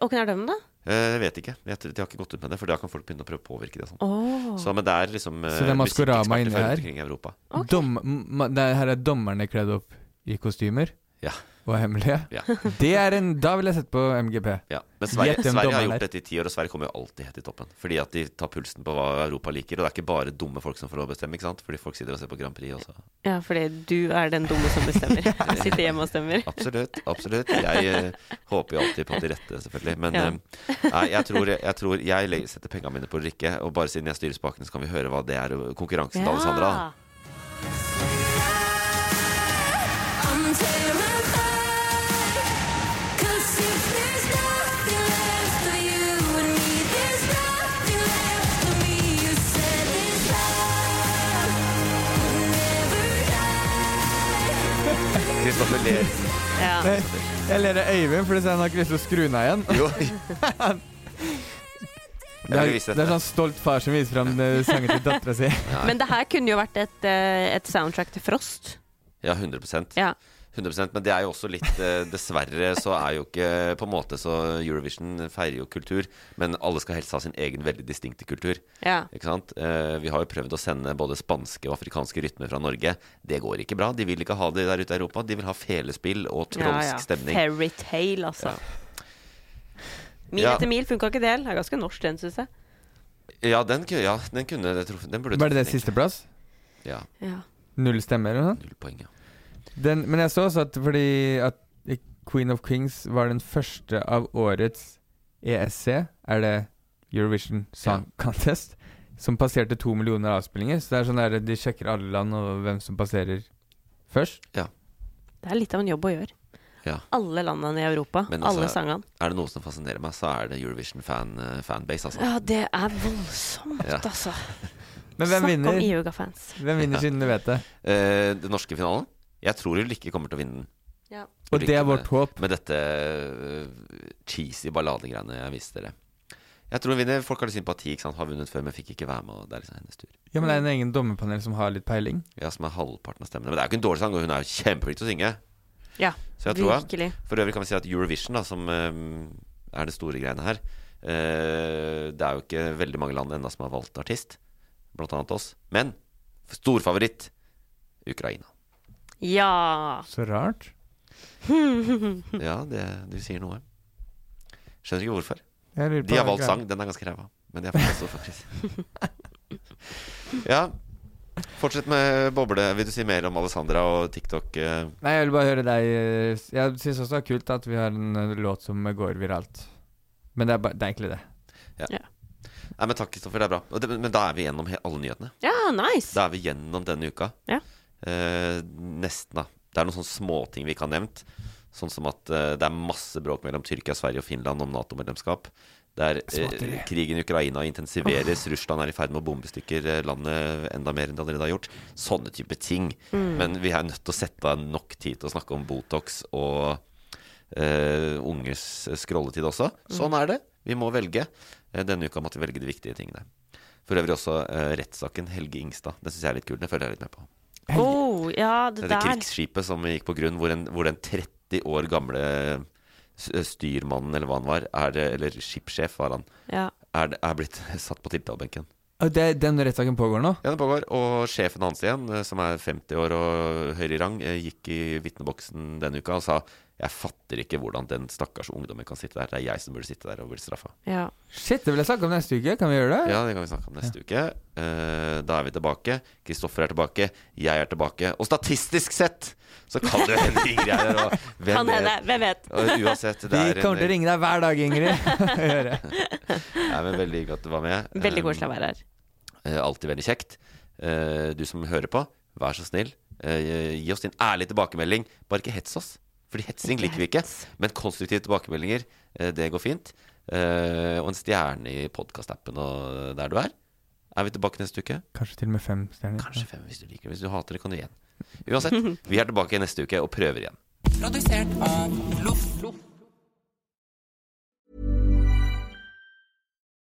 Speaker 3: Og hvem er dem, da?
Speaker 1: Eh, Jeg vet ikke. Jeg vet- De har ikke gått ut med det, for da kan folk begynne å prøve å påvirke det. og Sånn.
Speaker 3: Åh.
Speaker 1: Så, men det er liksom eh,
Speaker 2: Så det er Maskorama
Speaker 1: musikkeksperter
Speaker 2: inni
Speaker 1: fra rundt
Speaker 2: her?
Speaker 1: omkring i Europa.
Speaker 2: Dom, ma, det her er dommerne kledd opp i kostymer
Speaker 1: Ja.
Speaker 2: og er hemmelige.
Speaker 1: Ja.
Speaker 2: Det er en, da vil jeg sette på MGP.
Speaker 1: Ja. Men Sverige,
Speaker 2: Gjett hvem
Speaker 1: Sverige har
Speaker 2: dommeren
Speaker 1: gjort
Speaker 2: er.
Speaker 1: dette i ti år, og Sverige kommer jo alltid helt i toppen. Fordi at de tar pulsen på hva Europa liker, og det er ikke bare dumme folk som får lov å bestemme, ikke sant? Fordi folk sitter og ser på Grand Prix også.
Speaker 3: Ja, fordi du er den dumme som bestemmer. Sitter hjemme og stemmer.
Speaker 1: Absolutt. absolutt Jeg eh, håper jo alltid på de rette, selvfølgelig. Men
Speaker 3: Ja.
Speaker 1: eh, nei, jeg tror jeg, tror jeg le- setter pengene mine på Rikke, og bare siden jeg styrer spakene, så kan vi høre hva det er eh, konkurransen til Alessandra. da. Kristoffer ler.
Speaker 2: Nei, Jeg ler av Øyvind fordi han har ikke lyst til å skru den av igjen. det, er,
Speaker 1: vil vise
Speaker 2: det er sånn stolt far som viser fram eh, sangen til dattera si.
Speaker 3: Men det her kunne jo vært et, eh, et soundtrack til Frost.
Speaker 1: Ja, 100
Speaker 3: Ja.
Speaker 1: 100 Men det er jo også litt eh, Dessverre så er jo ikke På en måte så Eurovision feirer jo kultur, men alle skal helst ha sin egen veldig distinkte kultur.
Speaker 3: Ja.
Speaker 1: Ikke sant? Eh, vi har jo prøvd å sende både spanske og afrikanske rytmer fra Norge. Det går ikke bra. De vil ikke ha det der ute i Europa. De vil ha felespill og
Speaker 3: Ja,
Speaker 1: trolsk
Speaker 3: ja.
Speaker 1: stemning.
Speaker 3: Fairytale, altså. Mil
Speaker 1: Ja.
Speaker 3: etter mil funka ikke det heller. Det er ganske norsk, den, syns jeg.
Speaker 1: Ja, den, ku- ja, den kunne det truffet. Den burde
Speaker 2: Var det det
Speaker 1: truffet, egentlig.
Speaker 2: sisteplass?
Speaker 1: Ja.
Speaker 3: Ja.
Speaker 2: Null stemmer eller noe?
Speaker 1: Null poeng, ja.
Speaker 2: Den, men jeg så også at fordi at Queen of Kings var den første av årets ESC, er det Eurovision Song Contest, som passerte to millioner avspillinger. Så det er sånn der, de sjekker alle land og hvem som passerer først.
Speaker 3: Det er litt av en jobb å gjøre.
Speaker 1: Ja.
Speaker 3: Alle landene i Europa,
Speaker 1: Men
Speaker 3: alle
Speaker 1: altså,
Speaker 3: sangene.
Speaker 1: Er det noe som fascinerer meg, så er det Eurovision-fanbase, altså.
Speaker 3: Ja, det er voldsomt,
Speaker 1: Ja.
Speaker 3: altså.
Speaker 2: Men hvem
Speaker 3: Snakk om
Speaker 2: vinner?
Speaker 3: Iuga-fans.
Speaker 2: Hvem
Speaker 1: E
Speaker 2: vinner
Speaker 1: Ja.
Speaker 2: siden du vet det?
Speaker 1: Eh, den norske finalen? Jeg tror Ulrikke kommer til å vinne den.
Speaker 3: Ja.
Speaker 2: Og det er
Speaker 1: Ulrikke
Speaker 2: vårt håp.
Speaker 1: med, med dette eh, cheesy balladegreiene jeg viste dere. Jeg tror hun vinner. Folk har litt sympati. ikke sant? Har vunnet før, men fikk ikke være med. og Det er liksom hennes tur.
Speaker 2: Ja, men det er en egen dommerpanel som har litt peiling.
Speaker 1: Ja, Som er halvparten av stemmene. Men det er jo ikke en dårlig sang, og hun er jo kjempeflink til å synge.
Speaker 3: Ja,
Speaker 1: Så jeg tror jeg-
Speaker 3: virkelig.
Speaker 1: For øvrig kan vi si at Eurovision, da, som eh, er det store greiene her eh, Det er jo ikke veldig mange land ennå som har valgt artist, blant annet oss. Men storfavoritt Ukraina.
Speaker 3: Ja.
Speaker 2: Så rart.
Speaker 1: Ja, det, du sier noe. Skjønner ikke hvorfor.
Speaker 2: Jeg lurer på
Speaker 1: De har
Speaker 2: hva
Speaker 1: valgt
Speaker 2: greia-
Speaker 1: sang. Den er ganske ræva. Men de er faktisk stor favoritt. ja. Fortsett med boble. Vil du si mer om Alessandra og TikTok? eh?
Speaker 2: Nei, jeg vil bare høre deg eh, s- Jeg syns også det er kult at vi har en eh, låt som eh, går viralt. Men det er, ba, det er egentlig det.
Speaker 1: Nei, men Takk, Kristoffer. Det er bra. Og det, men da er vi gjennom he- alle nyhetene.
Speaker 3: ja, nice.
Speaker 1: Da er vi gjennom denne uka.
Speaker 3: Ja.
Speaker 1: Eh, nesten, da. Det er noen sånne småting vi ikke har nevnt. Sånn som at eh, det er masse bråk mellom Tyrkia, Sverige og Finland om Nato-medlemskap. Det er eh,
Speaker 2: Småtteri.
Speaker 1: krigen i Ukraina intensiveres, Russland er i ferd med å bombe i stykker eh, landet enda mer enn det allerede har gjort. Sånne type ting. Men vi er nødt til å sette av nok tid til å snakke om Botox og eh, unges scrolletid også. Sånn er det. Vi må velge. Eh, Denne uka måtte vi velge de viktige tingene. For øvrig også eh, rettssaken Helge Ingstad. Den syns jeg er litt kul. Den følger jeg litt med på.
Speaker 3: Oh, ja, det
Speaker 1: Dette
Speaker 3: der.
Speaker 1: krigsskipet som gikk på grunn, hvor, en, hvor den 30 år gamle s- eh, styrmannen, eller hva han var, er, det- eller skipssjef var han,
Speaker 3: Ja.
Speaker 1: er, det- er blitt satt på tiltalebenken.
Speaker 2: Og det den rettssaken pågår nå?
Speaker 1: Ja, det pågår. Og sjefen hans igjen, eh, som er 50 år og høyere i rang, eh, gikk i vitneboksen denne uka og sa jeg fatter ikke hvordan den stakkars ungdommen kan sitte der. Det er jeg som burde sitte der og bli straffa.
Speaker 3: ja.
Speaker 2: Shit, det vil jeg snakke om neste uke. Kan vi gjøre det?
Speaker 1: Ja, det kan vi snakke om neste uke. Eh, da er vi tilbake. Kristoffer er tilbake. Jeg er tilbake. Og statistisk sett så kan det jo hende Ingrid er her. og hvem
Speaker 3: Kan
Speaker 1: vet?
Speaker 3: hende. Hvem vet?
Speaker 1: Og uansett, det
Speaker 2: Vi
Speaker 1: er
Speaker 2: kommer til å
Speaker 1: en,
Speaker 2: ringe deg hver dag, Ingrid. og gjøre.
Speaker 1: Nei, men veldig hyggelig at du var med.
Speaker 3: Veldig koselig å være her.
Speaker 1: Eh, Alltid veldig kjekt. Eh, Du som hører på, vær så snill, eh, gi oss din ærlige tilbakemelding. Bare ikke hets oss, Fordi hetsing liker vi ikke. Men konstruktive tilbakemeldinger, eh, det går fint. Eh, Og en stjerne i podkastappen og der du er. Er vi tilbake neste uke?
Speaker 2: Kanskje til og med fem stjerner.
Speaker 1: Kanskje fem hvis du liker det. Hvis du hater det, kan du gi en. Uansett, vi er tilbake neste uke og prøver igjen.